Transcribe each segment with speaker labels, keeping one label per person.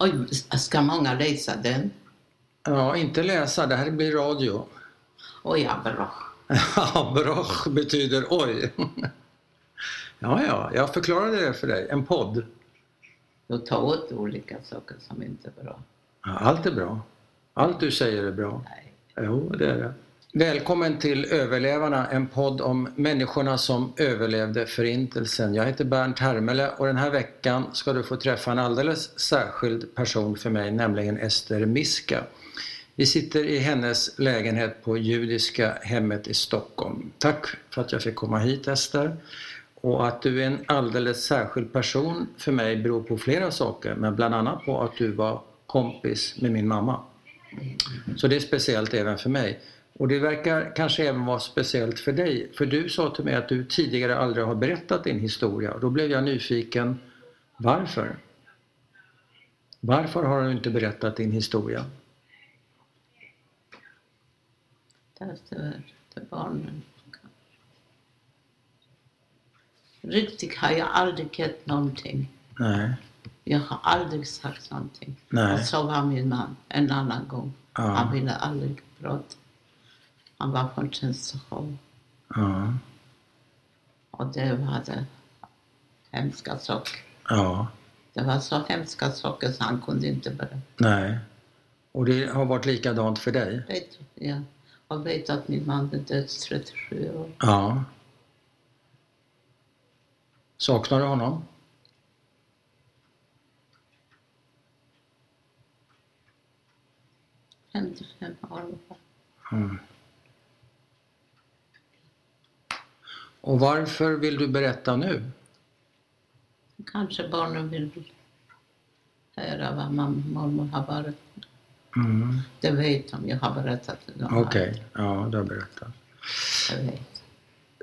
Speaker 1: Oj, ska många läsa den?
Speaker 2: Ja, inte läsa, det här blir radio.
Speaker 1: Oj, ja, bra.
Speaker 2: Ja, brosch betyder oj. Ja, ja, jag förklarade det för dig. En podd.
Speaker 1: Du tar åt olika saker som inte är bra.
Speaker 2: Ja, Allt är bra. Allt du säger är bra.
Speaker 1: Nej.
Speaker 2: Jo, det är det. Välkommen till Överlevarna, en podd om människorna som överlevde Förintelsen. Jag heter Bernt Hermele och den här veckan ska du få träffa en alldeles särskild person för mig, nämligen Ester Miska. Vi sitter i hennes lägenhet på Judiska hemmet i Stockholm. Tack för att jag fick komma hit Ester. Och att du är en alldeles särskild person för mig beror på flera saker, men bland annat på att du var kompis med min mamma. Så det är speciellt även för mig. Och det verkar kanske även vara speciellt för dig. För du sa till mig att du tidigare aldrig har berättat din historia. Och då blev jag nyfiken. Varför? Varför har du inte berättat din historia?
Speaker 1: Där står till barnen. Riktigt har jag aldrig gett någonting.
Speaker 2: Nej.
Speaker 1: Jag har aldrig sagt någonting.
Speaker 2: Nej.
Speaker 1: Och så var min man en annan gång.
Speaker 2: Ja.
Speaker 1: Han ville aldrig prata. Han var från Tjänstehov.
Speaker 2: Ja.
Speaker 1: Och det var det hemska saker.
Speaker 2: Ja.
Speaker 1: Det var så hemska saker så han kunde inte berätta.
Speaker 2: Nej. Och det har varit likadant för dig?
Speaker 1: Vet, ja. Jag vet att min man är död 37 år.
Speaker 2: Ja. Saknar du honom?
Speaker 1: Hämnd fem år.
Speaker 2: Och varför vill du berätta nu?
Speaker 1: Kanske barnen vill höra vad mamma, mormor har varit.
Speaker 2: Mm.
Speaker 1: Det vet de, jag har berättat för dem.
Speaker 2: Okej, ja, du har berättat.
Speaker 1: Jag vet.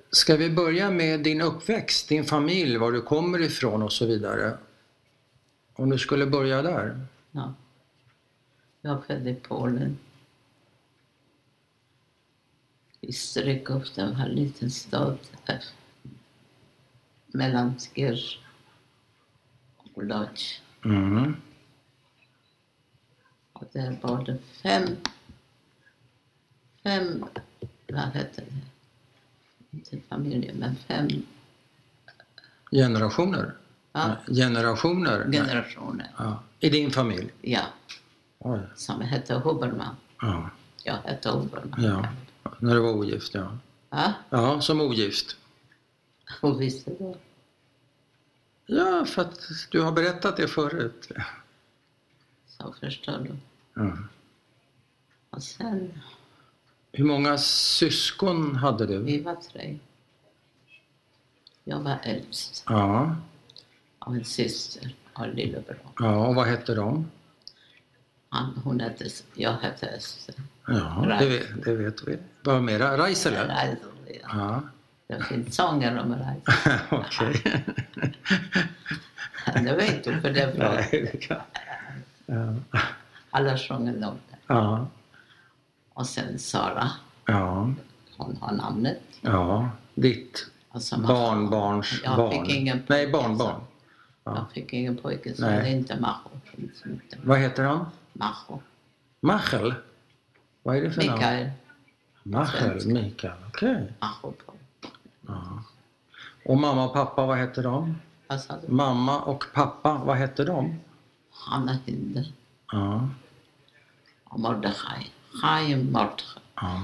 Speaker 2: Ska vi börja med din uppväxt, din familj, var du kommer ifrån och så vidare? Om du skulle börja där?
Speaker 1: Ja. Jag föddes i Polen. I Stryków, det var en liten stad eh, mellan Skir och Lodz.
Speaker 2: Mm.
Speaker 1: Och där var det fem, fem, vad heter det, inte familjer, men fem
Speaker 2: Generationer?
Speaker 1: ja,
Speaker 2: Nej, Generationer? Nej.
Speaker 1: generationer.
Speaker 2: Ja. I din familj?
Speaker 1: Ja,
Speaker 2: Oj.
Speaker 1: som hette Huberman.
Speaker 2: Ja.
Speaker 1: Jag hette Huberman.
Speaker 2: ja. När du var ogift, ja.
Speaker 1: Ja,
Speaker 2: Ja, som ogift.
Speaker 1: och visste du?
Speaker 2: Ja, för att du har berättat det förut.
Speaker 1: Så förstår du.
Speaker 2: Ja.
Speaker 1: Och sen,
Speaker 2: Hur många syskon hade du?
Speaker 1: vi var tre. Jag var äldst
Speaker 2: Ja.
Speaker 1: av en syster och en lillebror.
Speaker 2: ja, och vad hette de?
Speaker 1: Han, hon hette, jag hette Ester.
Speaker 2: Ja, det, vet- det vet vi. Vad mera? Reisele?
Speaker 1: Reisel, ja.
Speaker 2: Ja.
Speaker 1: Det finns sånger om Reisel.
Speaker 2: Okej.
Speaker 1: Det vet du, för det är bra.
Speaker 2: Nej, det kan... Ja.
Speaker 1: Alla sjunger om det.
Speaker 2: Ja.
Speaker 1: Och sen Sara,
Speaker 2: Ja.
Speaker 1: hon har namnet.
Speaker 2: ja. Ditt
Speaker 1: Och så Mahsa.
Speaker 2: barnbarns
Speaker 1: Jag
Speaker 2: barn.
Speaker 1: fick ingen
Speaker 2: Nej, barnbarn. ja.
Speaker 1: Jag fick ingen pojke, så
Speaker 2: Nej.
Speaker 1: det är inte Macho. Det finns inte
Speaker 2: Vad heter han?
Speaker 1: Macho.
Speaker 2: Machel? Vad är det för namn?
Speaker 1: Mikael
Speaker 2: Machel, Mikael. Okej.
Speaker 1: Macho. på.
Speaker 2: Ja. Och mamma och pappa, vad heter de?
Speaker 1: Vad sa du?
Speaker 2: Mamma och pappa, vad heter de?
Speaker 1: Hanna Hinde
Speaker 2: Ja.
Speaker 1: och Mordechai. Chaim Mordechai.
Speaker 2: ja.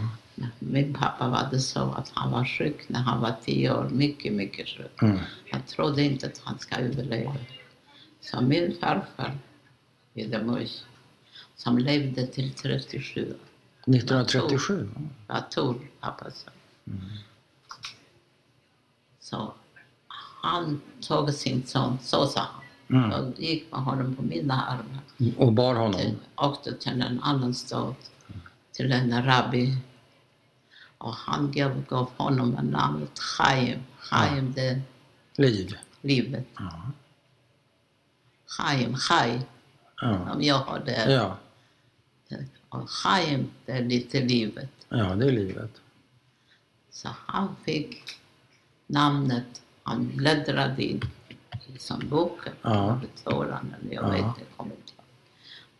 Speaker 1: Min pappa var det så att han var sjuk när han var tio år. Mycket, mycket sjuk.
Speaker 2: Mm.
Speaker 1: Jag trodde inte att han ska överleva. Så min farfar, Hedemors, som levde till 37 år,
Speaker 2: 1937?
Speaker 1: var Tor, pappa sa. Så han tog sin son, så sa han.
Speaker 2: Mm.
Speaker 1: Jag gick med honom på mina armar.
Speaker 2: Och bar honom?
Speaker 1: till, åkte till en annan stad, till en rabbi. Och han gav, gav honom namnet Chaim. Chaim, det är
Speaker 2: Liv?
Speaker 1: livet.
Speaker 2: Ja.
Speaker 1: Chaim, Chai,
Speaker 2: Ja.
Speaker 1: som jag har det.
Speaker 2: ja.
Speaker 1: Och Chaim, det är lite livet.
Speaker 2: Ja, det är livet.
Speaker 1: Så han fick namnet, han bläddrade i liksom boken,
Speaker 2: Ja.
Speaker 1: eller Toran, eller jag
Speaker 2: Ja.
Speaker 1: vet inte, jag kommer inte ihåg.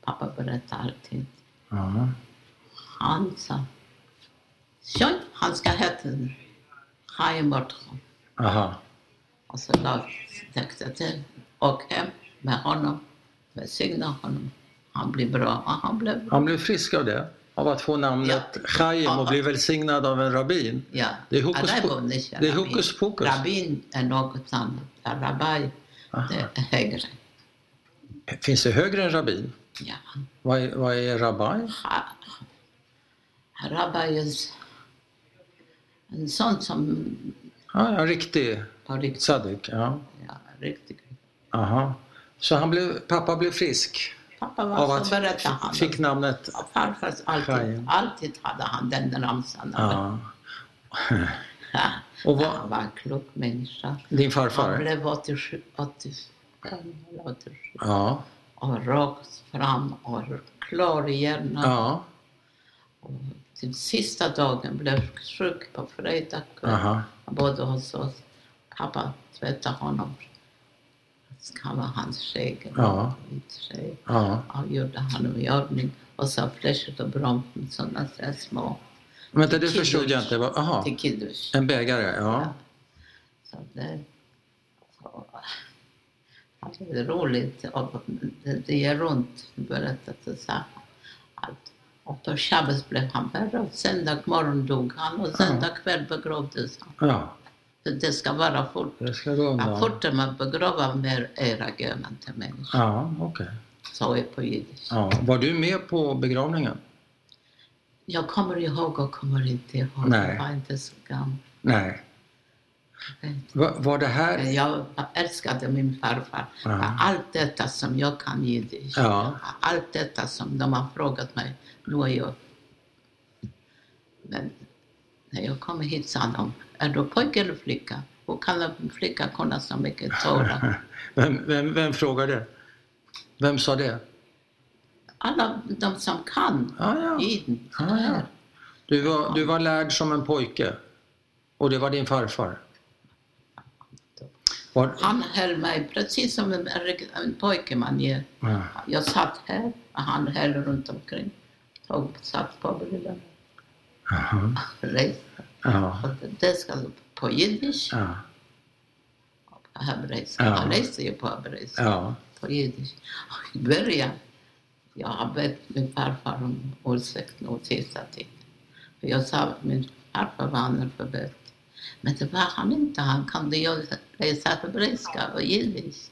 Speaker 1: Pappa berättade alltid.
Speaker 2: Ja.
Speaker 1: Han sa, Tjoj, han ska heta Chaim Bertram.
Speaker 2: Aha.
Speaker 1: Och så Lars tänkte till. Åk hem med honom. Välsigna honom. Han blir bra. Och han blev bra.
Speaker 2: Han blev frisk av det? Av att få namnet
Speaker 1: Ja.
Speaker 2: Chaim och
Speaker 1: Ja.
Speaker 2: bli välsignad av en rabbin?
Speaker 1: Ja,
Speaker 2: Det är hokus
Speaker 1: Ja,
Speaker 2: po-
Speaker 1: var inte
Speaker 2: det är
Speaker 1: rabbin.
Speaker 2: hokus pokus.
Speaker 1: Rabbin är något annat. Rabbi, det är högre.
Speaker 2: Finns det högre än rabbin?
Speaker 1: Ja.
Speaker 2: Vad är, vad är rabbi?
Speaker 1: Ha- Rabbi är s- en sån som
Speaker 2: Ja, en riktig
Speaker 1: på riktigt,
Speaker 2: tzadik. Ja.
Speaker 1: ja, riktigt.
Speaker 2: Aha. Så han blev, pappa blev frisk
Speaker 1: Pappa
Speaker 2: av
Speaker 1: var
Speaker 2: att
Speaker 1: så berättade han.
Speaker 2: fick namnet?
Speaker 1: Ja, Farfar alltid,
Speaker 2: Chaim.
Speaker 1: alltid hade han den ramsan.
Speaker 2: Ja.
Speaker 1: Ja,
Speaker 2: Och vad-
Speaker 1: Han var en klok människa. Han
Speaker 2: Din farfar?
Speaker 1: blev 87, 85 eller 87
Speaker 2: Ja.
Speaker 1: och rakt fram och klar i hjärnan.
Speaker 2: Ja.
Speaker 1: Och Till sista dagen blev sjuk på fredag.
Speaker 2: Aha.
Speaker 1: Han bodde hos oss. Pappa tvättade honom. Skammade hans skägg.
Speaker 2: Ja.
Speaker 1: Mitt skägg.
Speaker 2: ja.
Speaker 1: Och gjorde honom i ordning. Och så fläschet och bromsen, sådana där små.
Speaker 2: Vänta, det
Speaker 1: Till
Speaker 2: förstod jag
Speaker 1: kiddush.
Speaker 2: inte. Vad- Aha.
Speaker 1: Till kiddush.
Speaker 2: En bägare, ja.
Speaker 1: Så det, så, ja, det är roligt. Och det, det är runt berättat och så. här. Allt. Och på Shabbos blev han värre och söndag morgon dog han och söndag kväll begravdes han.
Speaker 2: Ja,
Speaker 1: Så det ska vara fort.
Speaker 2: det ska gå
Speaker 1: Ja,
Speaker 2: undan.
Speaker 1: fortare man begraver mer era gönen till människor.
Speaker 2: Ja, okej.
Speaker 1: Så är på jiddisch.
Speaker 2: Ja. Var du med på begravningen?
Speaker 1: Jag kommer ihåg och kommer inte ihåg.
Speaker 2: Nej.
Speaker 1: Jag var inte så gammal.
Speaker 2: Nej. Va- Var det här...
Speaker 1: Jag älskade min farfar.
Speaker 2: Ja.
Speaker 1: Allt detta som jag kan jiddisch.
Speaker 2: Ja.
Speaker 1: Allt detta som de har frågat mig. Nu är jag... Men när jag kom hit sa de, är du pojke eller flicka? Hur kan en flicka kunna så mycket tårar?
Speaker 2: Vem, vem, vem frågade? Vem sa det?
Speaker 1: Alla de som kan
Speaker 2: Ah, ja.
Speaker 1: jiddisch.
Speaker 2: Ah, ja. du, var, du var lärd som en pojke. Och det var din farfar. Var,
Speaker 1: Han höll mig precis som en, en pojke man gör.
Speaker 2: ja.
Speaker 1: Jag satt här och han höll runt omkring. Tog, satt på bryllan.
Speaker 2: Aha.
Speaker 1: Rejsa.
Speaker 2: Ja.
Speaker 1: Det ska på jiddisch.
Speaker 2: Ja.
Speaker 1: Hebreiska.
Speaker 2: Ja.
Speaker 1: Han läste ju på hebreiska.
Speaker 2: Ja.
Speaker 1: På jiddisch. Och I början, jag har bett min farfar om ursäkt nu sista tiden. För jag sa att min farfar var analfabet. Men det var han inte. Han kunde ju läsa hebreiska och jiddisch.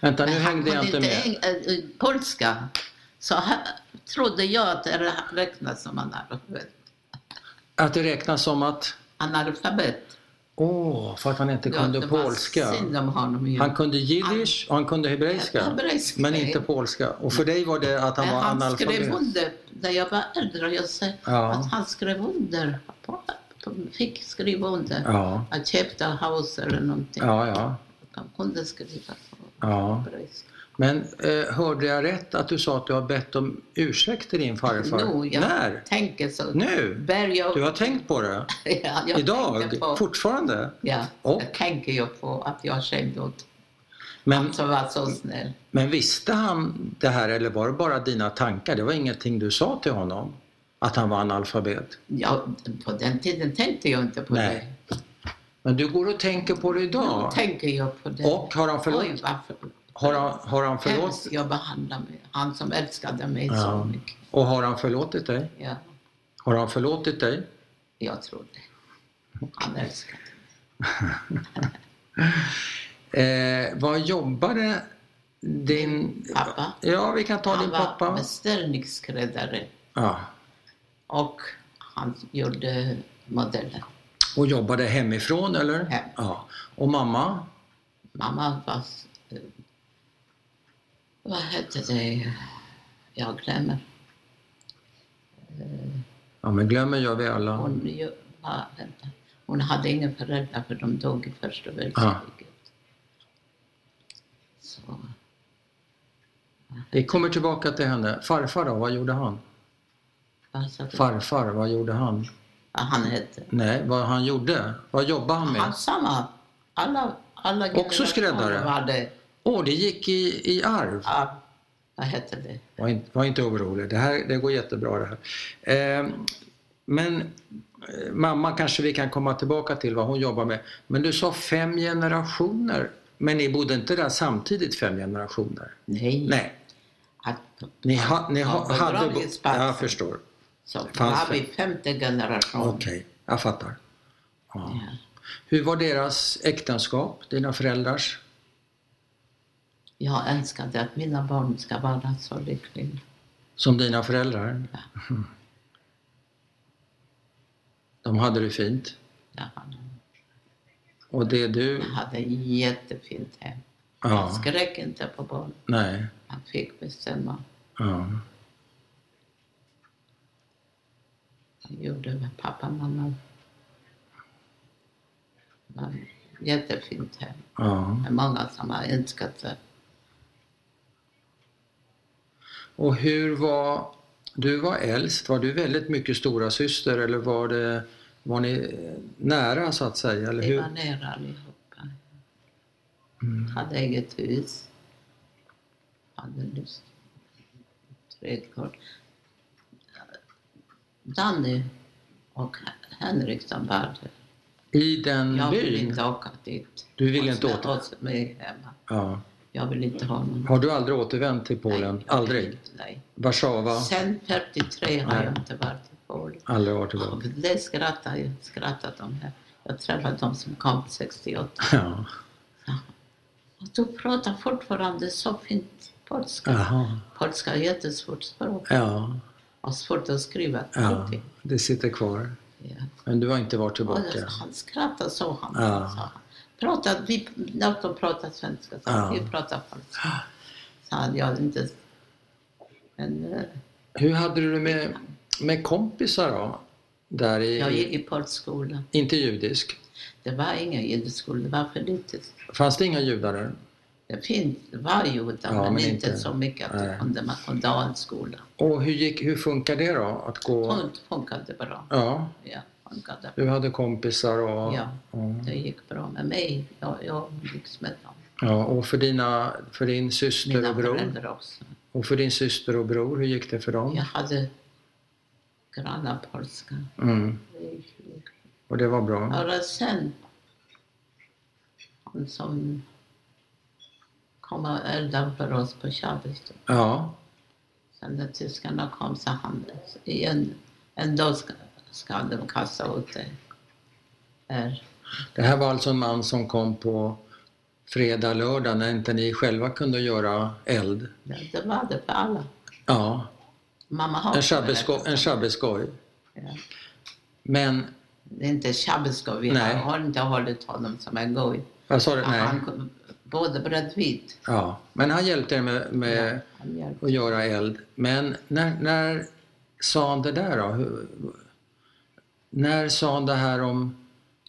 Speaker 2: Vänta, nu
Speaker 1: Men han
Speaker 2: hängde jag
Speaker 1: kunde
Speaker 2: inte med.
Speaker 1: inte eng- eh, eh, polska. Så här trodde jag att det räknas som analfabet.
Speaker 2: Att det räknas som att...
Speaker 1: analfabet.
Speaker 2: Åh, för att han inte kunde
Speaker 1: det var
Speaker 2: polska.
Speaker 1: synd om honom ju.
Speaker 2: Han kunde jiddisch och han kunde hebreiska.
Speaker 1: Hebreiska,
Speaker 2: Men
Speaker 1: ja.
Speaker 2: inte polska. Och för dig var det att han
Speaker 1: Men
Speaker 2: var
Speaker 1: han skrev
Speaker 2: analfabet?
Speaker 1: under när jag var äldre. och Jag sa
Speaker 2: Ja.
Speaker 1: att han skrev under. på- på- Fick skriva under.
Speaker 2: Ja,
Speaker 1: Att köpte house eller någonting.
Speaker 2: ja, ja.
Speaker 1: Han kunde skriva på
Speaker 2: ja.
Speaker 1: hebreiska.
Speaker 2: Men eh, hörde jag rätt att du sa att du har bett om ursäkt till din farfar?
Speaker 1: Nu, jag
Speaker 2: När?
Speaker 1: tänker så.
Speaker 2: Nu?
Speaker 1: Bär jag,
Speaker 2: Du har tänkt på det?
Speaker 1: ja, jag tänker
Speaker 2: Idag?
Speaker 1: På,
Speaker 2: Fortfarande?
Speaker 1: ja,
Speaker 2: Och?
Speaker 1: jag tänker jag på att jag skämde åt
Speaker 2: Men,
Speaker 1: han som var så snäll.
Speaker 2: men visste han det här eller var det bara dina tankar? Det var ingenting du sa till honom? Att han var analfabet?
Speaker 1: Ja, på den tiden tänkte jag inte på det.
Speaker 2: Nej. Men du går och tänker på det
Speaker 1: Nu
Speaker 2: idag?
Speaker 1: tänker jag på det.
Speaker 2: Och har han
Speaker 1: Oj,
Speaker 2: förlåt?
Speaker 1: varför
Speaker 2: Har han, har han förlåt?
Speaker 1: hemskt jag behandlade mig. Han som älskade mig
Speaker 2: Ja.
Speaker 1: så mycket.
Speaker 2: Och har han förlåtit dig?
Speaker 1: Ja,
Speaker 2: Har han förlåtit dig?
Speaker 1: jag tror det. Han älskade mig.
Speaker 2: Eh, vad jobbade din...
Speaker 1: Pappa.
Speaker 2: Ja, vi kan ta
Speaker 1: Han
Speaker 2: din
Speaker 1: var
Speaker 2: pappa.
Speaker 1: beställningsskräddare
Speaker 2: Ja.
Speaker 1: och han gjorde modeller.
Speaker 2: Och jobbade hemifrån eller?
Speaker 1: Hem.
Speaker 2: Ja. Och mamma?
Speaker 1: Mamma var... eh, Vad hette det? Jag glömmer.
Speaker 2: Ja, men glömmer gör vi alla.
Speaker 1: Hon, ju- ja, vänta. hon hade inga föräldrar för de dog i första
Speaker 2: Ah.
Speaker 1: världskriget. Så,
Speaker 2: Vi kommer tillbaka till henne. Farfar då, vad gjorde han?
Speaker 1: vad sa du?
Speaker 2: Farfar, vad gjorde han?
Speaker 1: Vad han hette?
Speaker 2: Nej, vad han gjorde? Vad jobbade han med?
Speaker 1: Han samma. Alla, alla
Speaker 2: Också skräddare?
Speaker 1: generationer Var det.
Speaker 2: Åh, det gick i, i arv.
Speaker 1: Ja, Vad hette det?
Speaker 2: Var inte, var inte orolig, det, här, det går jättebra det här. Eh, men eh, mamma kanske vi kan komma tillbaka till vad hon jobbar med. Men du sa fem generationer, men ni bodde inte där samtidigt fem generationer?
Speaker 1: Nej.
Speaker 2: Nej,
Speaker 1: Att,
Speaker 2: ni, ha, ni
Speaker 1: Ja,
Speaker 2: ha,
Speaker 1: på
Speaker 2: hade... Bo-
Speaker 1: begravningsplatsen.
Speaker 2: jag förstår.
Speaker 1: så
Speaker 2: fanns
Speaker 1: var vi femte generation.
Speaker 2: Okej, jag fattar. Ja.
Speaker 1: Ja.
Speaker 2: Hur var deras äktenskap, dina föräldrars?
Speaker 1: Jag önskade att mina barn ska vara så lyckliga.
Speaker 2: Som dina föräldrar? De hade det fint.
Speaker 1: Jag hade-
Speaker 2: Och det du...
Speaker 1: jag hade jättefint hem.
Speaker 2: Ja,
Speaker 1: Skräck inte på barn.
Speaker 2: nej.
Speaker 1: Han fick bestämma.
Speaker 2: Ja.
Speaker 1: Han gjorde vad pappa och mamma. Men jättefint hem.
Speaker 2: ja.
Speaker 1: Det är många som har önskat det.
Speaker 2: Och hur var... Du var äldst. Var du väldigt mycket stora syster eller var det... Var ni eh, nära så att säga? Eller
Speaker 1: Vi
Speaker 2: hur? Mm.
Speaker 1: var nere allihopa. Hade eget hus. Hade lust. trädgård. Danny och Henrik som var där.
Speaker 2: I den
Speaker 1: Jag vill
Speaker 2: byn?
Speaker 1: inte åka dit.
Speaker 2: Mm. Du vill inte
Speaker 1: Oss-
Speaker 2: åter-
Speaker 1: oss med hemma.
Speaker 2: Ja.
Speaker 1: Jag vill inte ha någon.
Speaker 2: Har du aldrig återvänt till Polen?
Speaker 1: Nej, jag vill
Speaker 2: aldrig?
Speaker 1: inte, Nej.
Speaker 2: Warszawa?
Speaker 1: Sen 53 har
Speaker 2: Nej.
Speaker 1: jag inte varit i Polen.
Speaker 2: Aldrig varit tillbaka?
Speaker 1: Och Det skrattar jag, skrattar de här. Jag träffade de som kom 68.
Speaker 2: Ja.
Speaker 1: Och du pratar fortfarande så fint polska.
Speaker 2: Jaha.
Speaker 1: Polska är jättesvårt språk
Speaker 2: Ja.
Speaker 1: och svårt att skriva.
Speaker 2: ja.
Speaker 1: allting.
Speaker 2: Det sitter kvar.
Speaker 1: Ja.
Speaker 2: Men du har inte varit
Speaker 1: Och
Speaker 2: tillbaka?
Speaker 1: han skrattar så han.
Speaker 2: Ja.
Speaker 1: sa han. Pratar, vi, när de pratar svenska så
Speaker 2: Ja.
Speaker 1: vi pratar polska. Så han, jag inte... Men eh,
Speaker 2: Hur hade du det med, med kompisar då? Där i,
Speaker 1: jag gick i polskola.
Speaker 2: Inte judisk.
Speaker 1: Det var ingen judeskola, det var för litet.
Speaker 2: Fanns det inga judar där?
Speaker 1: Det finns, det var judar,
Speaker 2: Ja,
Speaker 1: men,
Speaker 2: men
Speaker 1: inte
Speaker 2: inte-
Speaker 1: så mycket att
Speaker 2: nej.
Speaker 1: det kunde man kunde ha en skola.
Speaker 2: Och hur, gick, hur funkar det då? Att gå...
Speaker 1: Det funkade bra.
Speaker 2: Ja,
Speaker 1: Ja, funkade
Speaker 2: du hade kompisar och...
Speaker 1: Ja.
Speaker 2: Mm.
Speaker 1: Det gick bra med mig. Jag, jag umgicks med dem.
Speaker 2: ja och för, dina, för din syster
Speaker 1: Mina
Speaker 2: och bror?
Speaker 1: föräldrar också.
Speaker 2: Och för din syster och bror, hur gick det för dem?
Speaker 1: Jag hade grannar polska.
Speaker 2: Mm. Och det var bra?
Speaker 1: Bara sen, hon som kom och eldade för oss på Shabbos. då.
Speaker 2: Ja.
Speaker 1: Sen när tyskarna kom sa han igen, en dag ska, ska de kasta ut dig. Här.
Speaker 2: Det här var alltså en man som kom på fredag, lördag när inte ni själva kunde göra eld?
Speaker 1: Det, det var det för alla.
Speaker 2: Ja.
Speaker 1: Mamma har
Speaker 2: En shabbesgo- en shabbesgoj.
Speaker 1: Ja.
Speaker 2: Men,
Speaker 1: Det är inte Shabbeskov, vi
Speaker 2: Nej.
Speaker 1: har inte hållit honom som en goj.
Speaker 2: vad sa du? Nej.
Speaker 1: Han kom både bredvid.
Speaker 2: Ja, men han hjälpte er med, med
Speaker 1: Han hjälpte.
Speaker 2: att göra eld. Men när, när sa han det där då? Hur, när sa han det här om eh,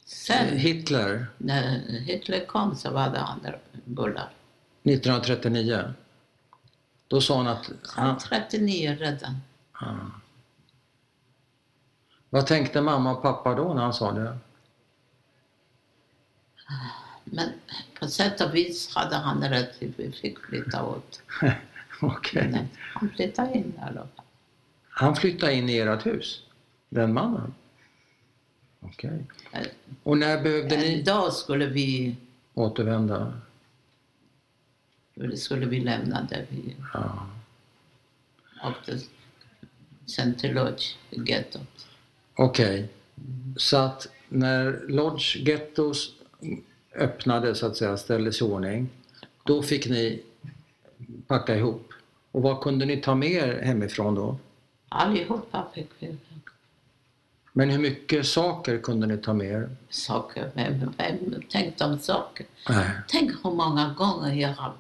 Speaker 1: Sen
Speaker 2: Hitler
Speaker 1: när Hitler kom så var det andra bullar.
Speaker 2: 1939? Då sa han att...
Speaker 1: Han
Speaker 2: Han,
Speaker 1: 39 redan.
Speaker 2: vad tänkte mamma och pappa då när han sa det?
Speaker 1: Men på sätt och vis hade han rätt, vi- vi fick flytta ut.
Speaker 2: Okej.
Speaker 1: Men han flyttade in i alla fall.
Speaker 2: Han flyttade in i ert hus? Den mannen? Okej. Och när behövde
Speaker 1: En
Speaker 2: ni
Speaker 1: dag skulle vi,
Speaker 2: återvända?
Speaker 1: skulle vi lämna där vi
Speaker 2: Ja.
Speaker 1: åkte sen till Lodz, i gettot.
Speaker 2: Okej. Så att när Lodge Ghettos öppnade så att säga, ställdes i ordning, då fick ni packa ihop. Och vad kunde ni ta med er hemifrån då?
Speaker 1: Allihopa fick vi
Speaker 2: Men hur mycket saker kunde ni ta med er?
Speaker 1: saker. Vem, vem tänkte om saker?
Speaker 2: Nej.
Speaker 1: Tänk hur många gånger jag har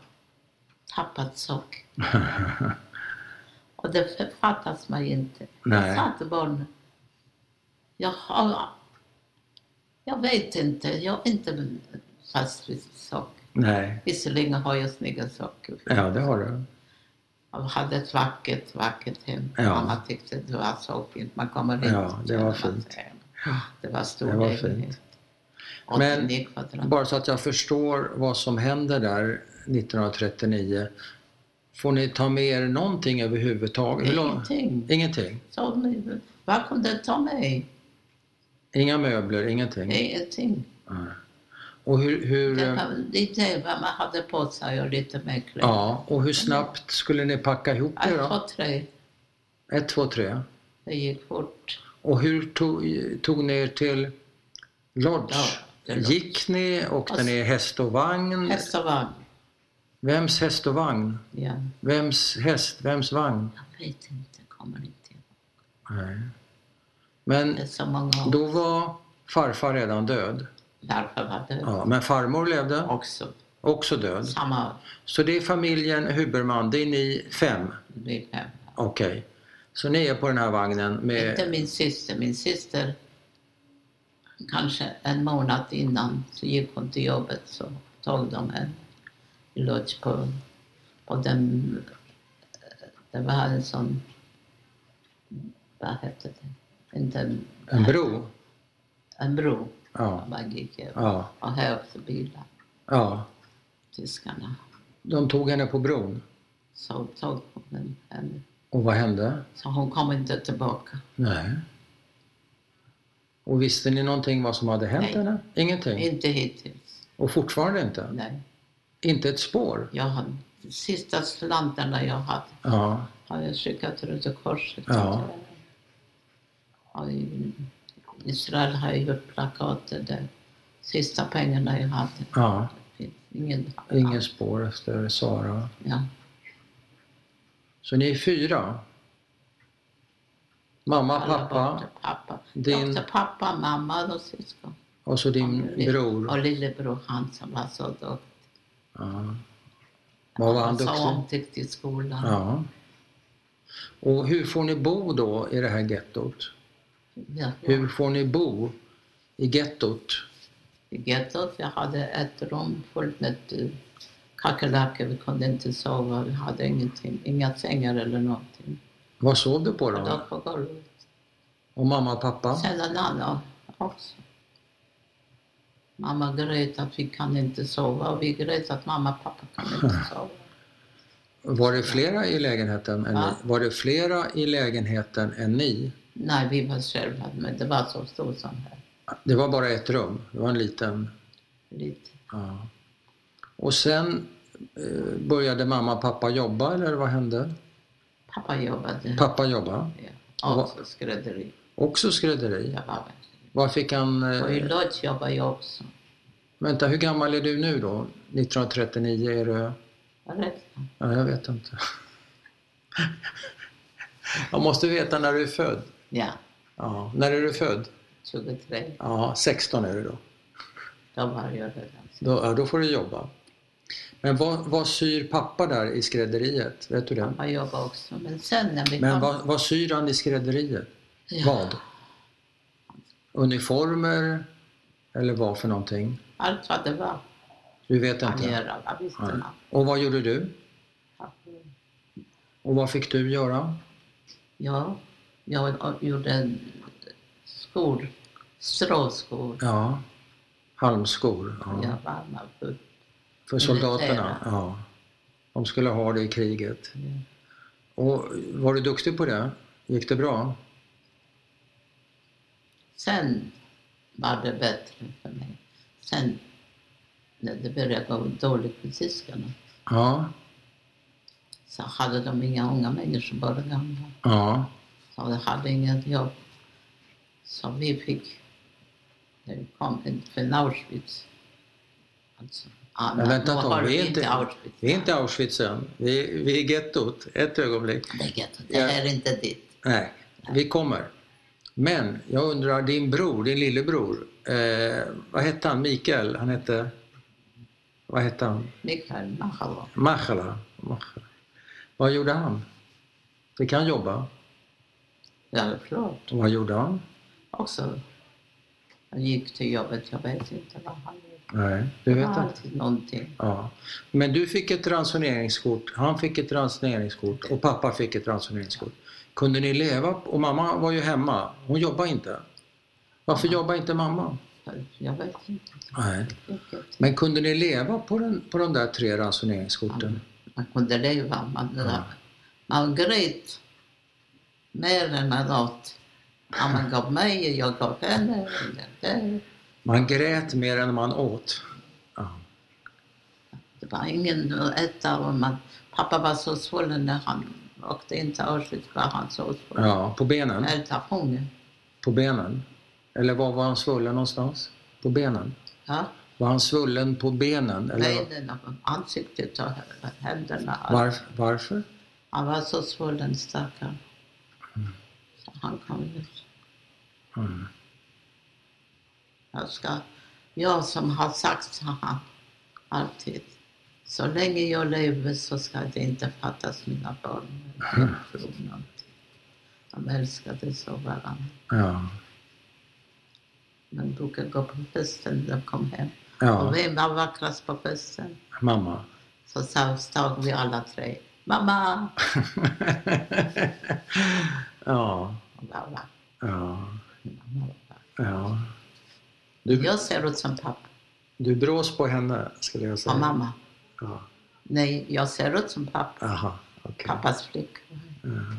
Speaker 1: tappat saker. Och det fattas mig inte. Jag
Speaker 2: Nej.
Speaker 1: sa till barnen, jag har... Jag vet inte, jag är inte fast vid saker.
Speaker 2: Nej.
Speaker 1: Visserligen har jag snygga saker.
Speaker 2: Ja, det har du.
Speaker 1: Jag hade ett vackert, vackert hem.
Speaker 2: Ja.
Speaker 1: Mamma tyckte det var så fint. Man kommer in
Speaker 2: Ja,
Speaker 1: och
Speaker 2: det var
Speaker 1: känner sig
Speaker 2: fint.
Speaker 1: hemma. Det var stor
Speaker 2: Det var
Speaker 1: lägenhet.
Speaker 2: fint.
Speaker 1: 89 kvadrat.
Speaker 2: Bara så att jag förstår vad som händer där 1939. Får ni ta med er någonting överhuvudtaget? Hur lång-
Speaker 1: Ingenting.
Speaker 2: Ingenting?
Speaker 1: Så, men, vad kunde jag ta mig?
Speaker 2: Inga möbler, ingenting?
Speaker 1: Ingenting.
Speaker 2: Nej. Och hur, hur,
Speaker 1: Det
Speaker 2: eh,
Speaker 1: var lite vad man hade på sig och lite mer kläder.
Speaker 2: ja, och hur snabbt skulle ni packa ihop det
Speaker 1: Ett,
Speaker 2: då?
Speaker 1: två, tre.
Speaker 2: Ett, två, tre.
Speaker 1: Det gick fort.
Speaker 2: Och hur tog, tog ni er till Lodge?
Speaker 1: Ja, till Lodge.
Speaker 2: Gick ni? Åkte
Speaker 1: Och-
Speaker 2: ni häst och vagn?
Speaker 1: Häst och vagn.
Speaker 2: Vems häst och vagn?
Speaker 1: Ja,
Speaker 2: Vems häst? Vems vagn?
Speaker 1: jag vet inte. Jag kommer inte ihåg.
Speaker 2: Nej. Men
Speaker 1: Det är så många år.
Speaker 2: då var farfar redan död.
Speaker 1: Därför var det
Speaker 2: Ja, men farmor levde,
Speaker 1: också
Speaker 2: också död.
Speaker 1: samma
Speaker 2: Så det är familjen Huberman, det är ni fem?
Speaker 1: befäl.
Speaker 2: Okej. Så ni är på den här vagnen med...
Speaker 1: Inte min syster. Min syster, kanske en månad innan, så gick hon till jobbet så tog de en lodge på, på den... Det var en sån... Vad hette det? Inte en,
Speaker 2: En bro?
Speaker 1: en bro.
Speaker 2: Ja.
Speaker 1: Man gick över.
Speaker 2: Ja.
Speaker 1: Och här åkte bilar,
Speaker 2: ja.
Speaker 1: tyskarna.
Speaker 2: De tog henne på bron.
Speaker 1: Så tog hon henne.
Speaker 2: Och vad hände?
Speaker 1: Så hon kom inte tillbaka.
Speaker 2: Nej. Och visste ni någonting vad som hade hänt
Speaker 1: Nej.
Speaker 2: eller? Ingenting?
Speaker 1: Inte hittills.
Speaker 2: Och fortfarande inte?
Speaker 1: Nej.
Speaker 2: Inte ett spår?
Speaker 1: Jag har, de sista slantarna jag hade
Speaker 2: Ja.
Speaker 1: har jag skickat Röda Korset.
Speaker 2: Ja.
Speaker 1: Och i Israel har jag gjort plakater där. Sista pengarna jag hade.
Speaker 2: Ja.
Speaker 1: Finns Ingen,
Speaker 2: Ingen spår efter Sara.
Speaker 1: Ja.
Speaker 2: Så ni är fyra? Mamma,
Speaker 1: Alla
Speaker 2: pappa
Speaker 1: borta. pappa.
Speaker 2: Din-
Speaker 1: Din... pappa, mamma och syskon.
Speaker 2: och så din bror.
Speaker 1: Och lillebror han som var så duktig.
Speaker 2: Ja. Vad var han
Speaker 1: Så
Speaker 2: duktig?
Speaker 1: omtyckt i skolan.
Speaker 2: Ja. Och hur får ni bo då i det här gettot?
Speaker 1: Ja.
Speaker 2: Hur får ni bo i gettot?
Speaker 1: I gettot jag hade ett rum fullt med eh, kackerlackor. Vi kunde inte sova. Vi hade ingenting. Inga sängar eller någonting.
Speaker 2: Vad sov du på
Speaker 1: Jag
Speaker 2: då?
Speaker 1: låg på golvet.
Speaker 2: Och mamma och pappa?
Speaker 1: Sen en annan också. Mamma grät att vi kan inte sova och vi grät att mamma och pappa kan inte sova.
Speaker 2: Var det flera i lägenheten än
Speaker 1: Va?
Speaker 2: ni? Var det flera i lägenheten än ni?
Speaker 1: Nej, vi var själva, men det var så stort som här.
Speaker 2: Det var bara ett rum, det var en liten.
Speaker 1: Lite.
Speaker 2: Ja. Och sen eh, började mamma och pappa jobba eller vad hände?
Speaker 1: Pappa jobbade.
Speaker 2: Pappa jobba,
Speaker 1: ja. Och så skrädderi.
Speaker 2: också skrädderi.
Speaker 1: Jag var
Speaker 2: Var fick han...
Speaker 1: med. Och i
Speaker 2: Eh,
Speaker 1: Lodz jobbade jag också.
Speaker 2: vänta, hur gammal är du nu då? 1939 är du...
Speaker 1: Jag räknade.
Speaker 2: Ja, jag vet inte. Jag måste veta när du är född.
Speaker 1: Ja,
Speaker 2: Ja. När är du född?
Speaker 1: 23.
Speaker 2: Ja, 16 är du då.
Speaker 1: Då var jag redan.
Speaker 2: Då, ja, då får du jobba. Men vad, vad syr pappa där i skrädderiet? Vet du det?
Speaker 1: Pappa jobbade också. Men sen när vi
Speaker 2: Men
Speaker 1: kom...
Speaker 2: vad, vad syr han i skrädderiet?
Speaker 1: Ja.
Speaker 2: Vad? Uniformer? Eller vad för någonting?
Speaker 1: Allt vad det var.
Speaker 2: Du vet
Speaker 1: Han
Speaker 2: inte?
Speaker 1: gör alla
Speaker 2: Nej.
Speaker 1: visste
Speaker 2: Och vad gjorde du?
Speaker 1: man.
Speaker 2: Och vad fick du göra?
Speaker 1: Ja, jag gjorde en skor, stråskor.
Speaker 2: Ja, halmskor. Ja.
Speaker 1: Jag vann av upp.
Speaker 2: För soldaterna? Ja. De skulle ha det i kriget. Och var du duktig på det? Gick det bra?
Speaker 1: Sen var det bättre för mig. Sen när det började gå dåligt med tyskarna
Speaker 2: Ja.
Speaker 1: så hade de inga unga människor, bara gamla.
Speaker 2: Ja.
Speaker 1: Så de hade inget jobb. Så vi fick, det kom en från Auschwitz. Alltså, ja,
Speaker 2: Men vänta
Speaker 1: nu
Speaker 2: ett
Speaker 1: har
Speaker 2: tag, vi är
Speaker 1: inte
Speaker 2: inte,
Speaker 1: Auschwitz.
Speaker 2: vi är inte Auschwitz än. Vi, vi är gettot. Ett ögonblick.
Speaker 1: Det är gött. Det
Speaker 2: Ja.
Speaker 1: här är inte ditt.
Speaker 2: Nej, vi kommer. Men jag undrar, din bror, din lillebror, eh, vad hette han? Mikael? Han hette... Vad hette han?
Speaker 1: Mikael Mahalov.
Speaker 2: Machala. Machala. Vad gjorde han? Fick han jobba?
Speaker 1: Ja, klart.
Speaker 2: Och vad gjorde han?
Speaker 1: också. Han gick till jobbet, jag vet inte vad han gjorde.
Speaker 2: Nej, du vet
Speaker 1: Han
Speaker 2: inte.
Speaker 1: alltid någonting.
Speaker 2: Ja. Men du fick ett ransoneringskort, han fick ett ransoneringskort och pappa fick ett ransoneringskort. Kunde ni leva? Och mamma var ju hemma, hon jobbade inte. Varför jobbade inte mamma?
Speaker 1: Jag vet inte.
Speaker 2: Nej.
Speaker 1: vilket.
Speaker 2: Men kunde ni leva på, den, på de där tre ransoneringskorten?
Speaker 1: man kunde leva. Man,
Speaker 2: Ja.
Speaker 1: man grät mer än man åt. Ja, man gav mig, jag gav henne. Det,
Speaker 2: Man grät mer än man åt. Ja.
Speaker 1: det var ingen att äta. Och man, pappa var så svullen när han åkte in till Auschwitz. Var han så svullen.
Speaker 2: ja, på benen.
Speaker 1: Äta hunger.
Speaker 2: På benen. Eller var var han svullen någonstans? På benen.
Speaker 1: Ja,
Speaker 2: Var han svullen på benen? Eller
Speaker 1: benen och ansiktet och händerna.
Speaker 2: varf- varför?
Speaker 1: Han var så svullen stackaren. Så han kom ut.
Speaker 2: Mm.
Speaker 1: Jag, ska, jag som har sagt, sa han alltid, så länge jag lever så ska det inte fattas mina barn. Jag tror någonting. De älskade så varandra.
Speaker 2: Ja.
Speaker 1: De brukade gå på festen när de kom hem.
Speaker 2: ja,
Speaker 1: Och vem var vackrast på festen?
Speaker 2: mamma.
Speaker 1: Så sa- stod vi alla tre. Mamma!
Speaker 2: ja,
Speaker 1: Och bara, "Va?
Speaker 2: ja,
Speaker 1: Mamma, va?"
Speaker 2: ja. Du,
Speaker 1: Jag ser ut som pappa.
Speaker 2: du brås på henne, skulle jag
Speaker 1: Och
Speaker 2: säga.
Speaker 1: mamma.
Speaker 2: Ja.
Speaker 1: Nej, jag ser ut som pappa.
Speaker 2: Aha, okej.
Speaker 1: Pappas flickvän.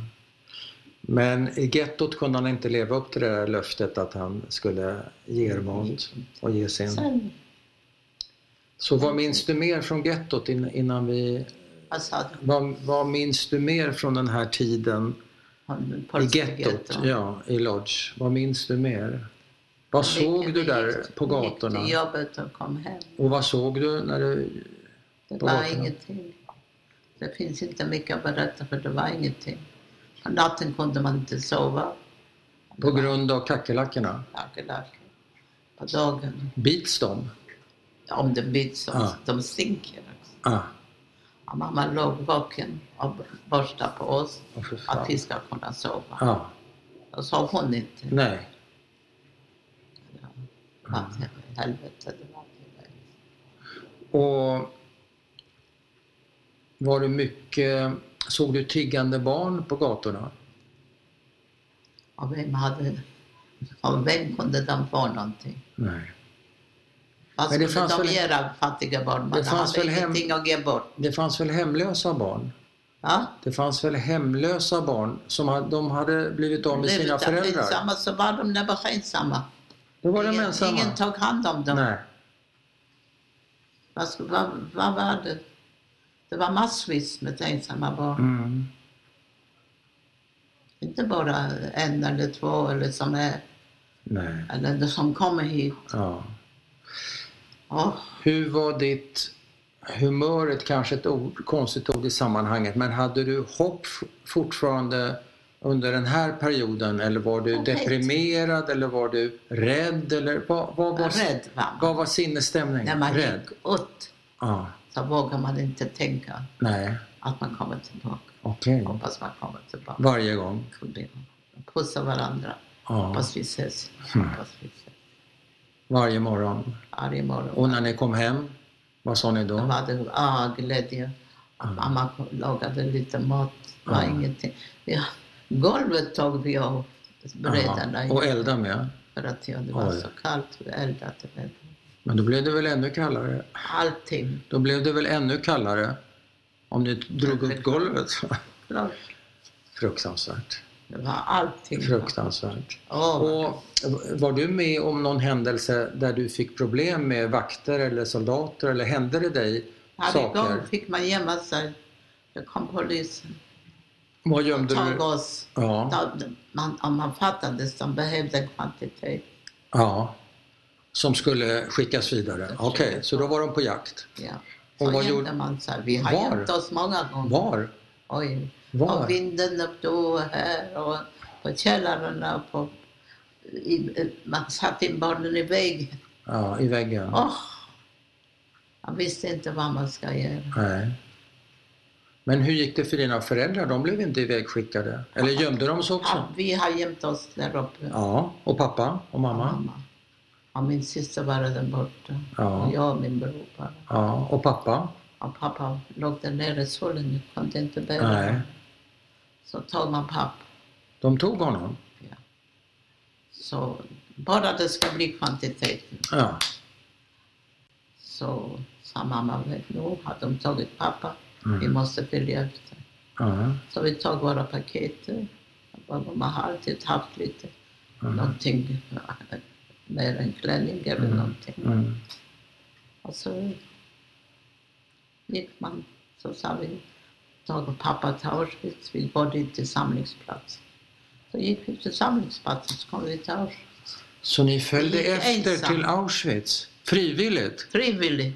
Speaker 2: Men i gettot kunde han inte leva upp till det där löftet att han skulle ge er mat och ge sin.
Speaker 1: Sen,
Speaker 2: Så vad minns du mer från gettot in- innan vi...
Speaker 1: vad sa du?
Speaker 2: Vad, vad minns du mer från den här tiden
Speaker 1: Hon-
Speaker 2: I
Speaker 1: polska
Speaker 2: gettot,
Speaker 1: getton.
Speaker 2: ja, i Lodge. Vad minns du mer? Vad såg
Speaker 1: Gick-
Speaker 2: du där
Speaker 1: gick-
Speaker 2: på gatorna?
Speaker 1: Gick till jobbet och kom hem.
Speaker 2: Och vad såg du när du...
Speaker 1: Det
Speaker 2: På
Speaker 1: var
Speaker 2: gatorna.
Speaker 1: ingenting. Det finns inte mycket att berätta för det var ingenting. På natten kunde man inte sova.
Speaker 2: På grund av kackerlackorna?
Speaker 1: Kackerlackor. På dagen.
Speaker 2: Bits de?
Speaker 1: Om det bits så
Speaker 2: Ja.
Speaker 1: de stinker också.
Speaker 2: Ah,
Speaker 1: Och mamma låg vaken och borstade på oss
Speaker 2: åh, för
Speaker 1: att
Speaker 2: fan.
Speaker 1: vi ska kunna sova.
Speaker 2: Ah,
Speaker 1: Då sa hon inte.
Speaker 2: nej.
Speaker 1: Ja, helvete, det var det.
Speaker 2: Och var det mycket... Såg du tiggande barn på gatorna?
Speaker 1: Och vem hade... Och vem kunde de få någonting?
Speaker 2: Nej.
Speaker 1: Vad
Speaker 2: Men det
Speaker 1: skulle
Speaker 2: fanns
Speaker 1: de
Speaker 2: väl-
Speaker 1: göra, fattiga barn? Man
Speaker 2: Det fanns
Speaker 1: hade
Speaker 2: väl hem-
Speaker 1: ingenting att ge bort.
Speaker 2: Det fanns väl hemlösa barn?
Speaker 1: Ja?
Speaker 2: Det fanns väl hemlösa barn som ha- de hade blivit av med
Speaker 1: Blev
Speaker 2: sina
Speaker 1: de
Speaker 2: föräldrar?
Speaker 1: ensamma så var de när de var ensamma.
Speaker 2: Då var de
Speaker 1: ingen,
Speaker 2: ensamma?
Speaker 1: ingen tog hand om dem.
Speaker 2: Nej.
Speaker 1: Vad, skulle- vad, vad var det? Det var massvis med ensamma barn.
Speaker 2: Mm.
Speaker 1: Inte bara en eller två eller som, är,
Speaker 2: Nej.
Speaker 1: eller de som kommer hit.
Speaker 2: Ja.
Speaker 1: Åh,
Speaker 2: Hur var ditt humör, ett kanske ett ord, konstigt ord i sammanhanget, men hade du hopp f- fortfarande under den här perioden eller var du
Speaker 1: Jag vet.
Speaker 2: deprimerad eller var du rädd eller vad, vad, var,
Speaker 1: rädd var man.
Speaker 2: vad var
Speaker 1: När
Speaker 2: sinnesstämningen?
Speaker 1: man
Speaker 2: rädd?
Speaker 1: gick ut
Speaker 2: Ja,
Speaker 1: så vågar man inte tänka
Speaker 2: nej,
Speaker 1: att man kommer tillbaka.
Speaker 2: okej.
Speaker 1: Hoppas man kommer tillbaka.
Speaker 2: Varje gång?
Speaker 1: Pussa varandra.
Speaker 2: Ja,
Speaker 1: Hoppas vi ses.
Speaker 2: Mm.
Speaker 1: Hoppas vi ses.
Speaker 2: varje morgon.
Speaker 1: Varje morgon.
Speaker 2: Och när ni kom hem, vad sa ni
Speaker 1: Då
Speaker 2: då?
Speaker 1: var det ah, glädje.
Speaker 2: Mm.
Speaker 1: Mamma lagade lite mat. Det var
Speaker 2: Mm.
Speaker 1: ingenting. Ja, golvet tog vi av brädarna
Speaker 2: Ja, och elda med?
Speaker 1: för att ja, det var
Speaker 2: Oj.
Speaker 1: så kallt. Vi eldade med
Speaker 2: Men då blev det väl ännu kallare?
Speaker 1: allting.
Speaker 2: Då blev det väl ännu kallare? Om ni drog upp golvet? Fruktansvärt.
Speaker 1: Det var allting.
Speaker 2: Fruktansvärt.
Speaker 1: Åh,
Speaker 2: Och var du med om någon händelse där du fick problem med vakter eller soldater eller hände det dig
Speaker 1: varje gång
Speaker 2: saker?
Speaker 1: fick man gömma sig. Då kom polisen.
Speaker 2: Vad gömde
Speaker 1: Tog
Speaker 2: du?
Speaker 1: oss.
Speaker 2: Ja,
Speaker 1: Då- Man, om man fattades, de behövde en kvantitet.
Speaker 2: ja. Som skulle skickas vidare. Okej, så då var de på jakt.
Speaker 1: Ja.
Speaker 2: Och
Speaker 1: Så
Speaker 2: vad
Speaker 1: gömde
Speaker 2: gjorde-
Speaker 1: man sig. Vi har
Speaker 2: Var?
Speaker 1: gömt oss många gånger.
Speaker 2: Var?
Speaker 1: Oj. Och
Speaker 2: Var?
Speaker 1: vinden upp då här och på källarna. och På, i, man satte in barnen i väggen.
Speaker 2: Ja, i väggen.
Speaker 1: Åh! Man visste inte vad man ska göra.
Speaker 2: Nej. Men hur gick det för dina föräldrar? De blev inte ivägskickade. Eller gömde de sig
Speaker 1: Ja,
Speaker 2: också?
Speaker 1: vi har gömt oss där uppe.
Speaker 2: Ja, och pappa och mamma.
Speaker 1: Mamma. Ja, min syster var redan borta.
Speaker 2: Ja.
Speaker 1: Och jag och min bror bara.
Speaker 2: Ja, och pappa.
Speaker 1: Och pappa låg där nere i solen. kunde inte bära.
Speaker 2: Nej.
Speaker 1: Så tog man pappa.
Speaker 2: De tog honom.
Speaker 1: Så bara det ska bli kvantiteten.
Speaker 2: Ja,
Speaker 1: Så sa mamma, vet nu har de tagit pappa.
Speaker 2: Mm.
Speaker 1: Vi måste följa efter.
Speaker 2: Ja.
Speaker 1: Så vi tog våra paket, eh, vad man har alltid haft lite,
Speaker 2: Mm.
Speaker 1: någonting eh, mer än klänning eller
Speaker 2: Mm.
Speaker 1: någonting.
Speaker 2: Mm.
Speaker 1: Och så gick man, så sa vi, jag och pappa till Auschwitz, vi bodde inte i samlingsplatsen. Så gick vi till samlingsplatsen, så kom vi till Auschwitz.
Speaker 2: Så ni följde
Speaker 1: Jag gick
Speaker 2: efter
Speaker 1: ensam.
Speaker 2: till Auschwitz? Frivilligt?
Speaker 1: Frivillig.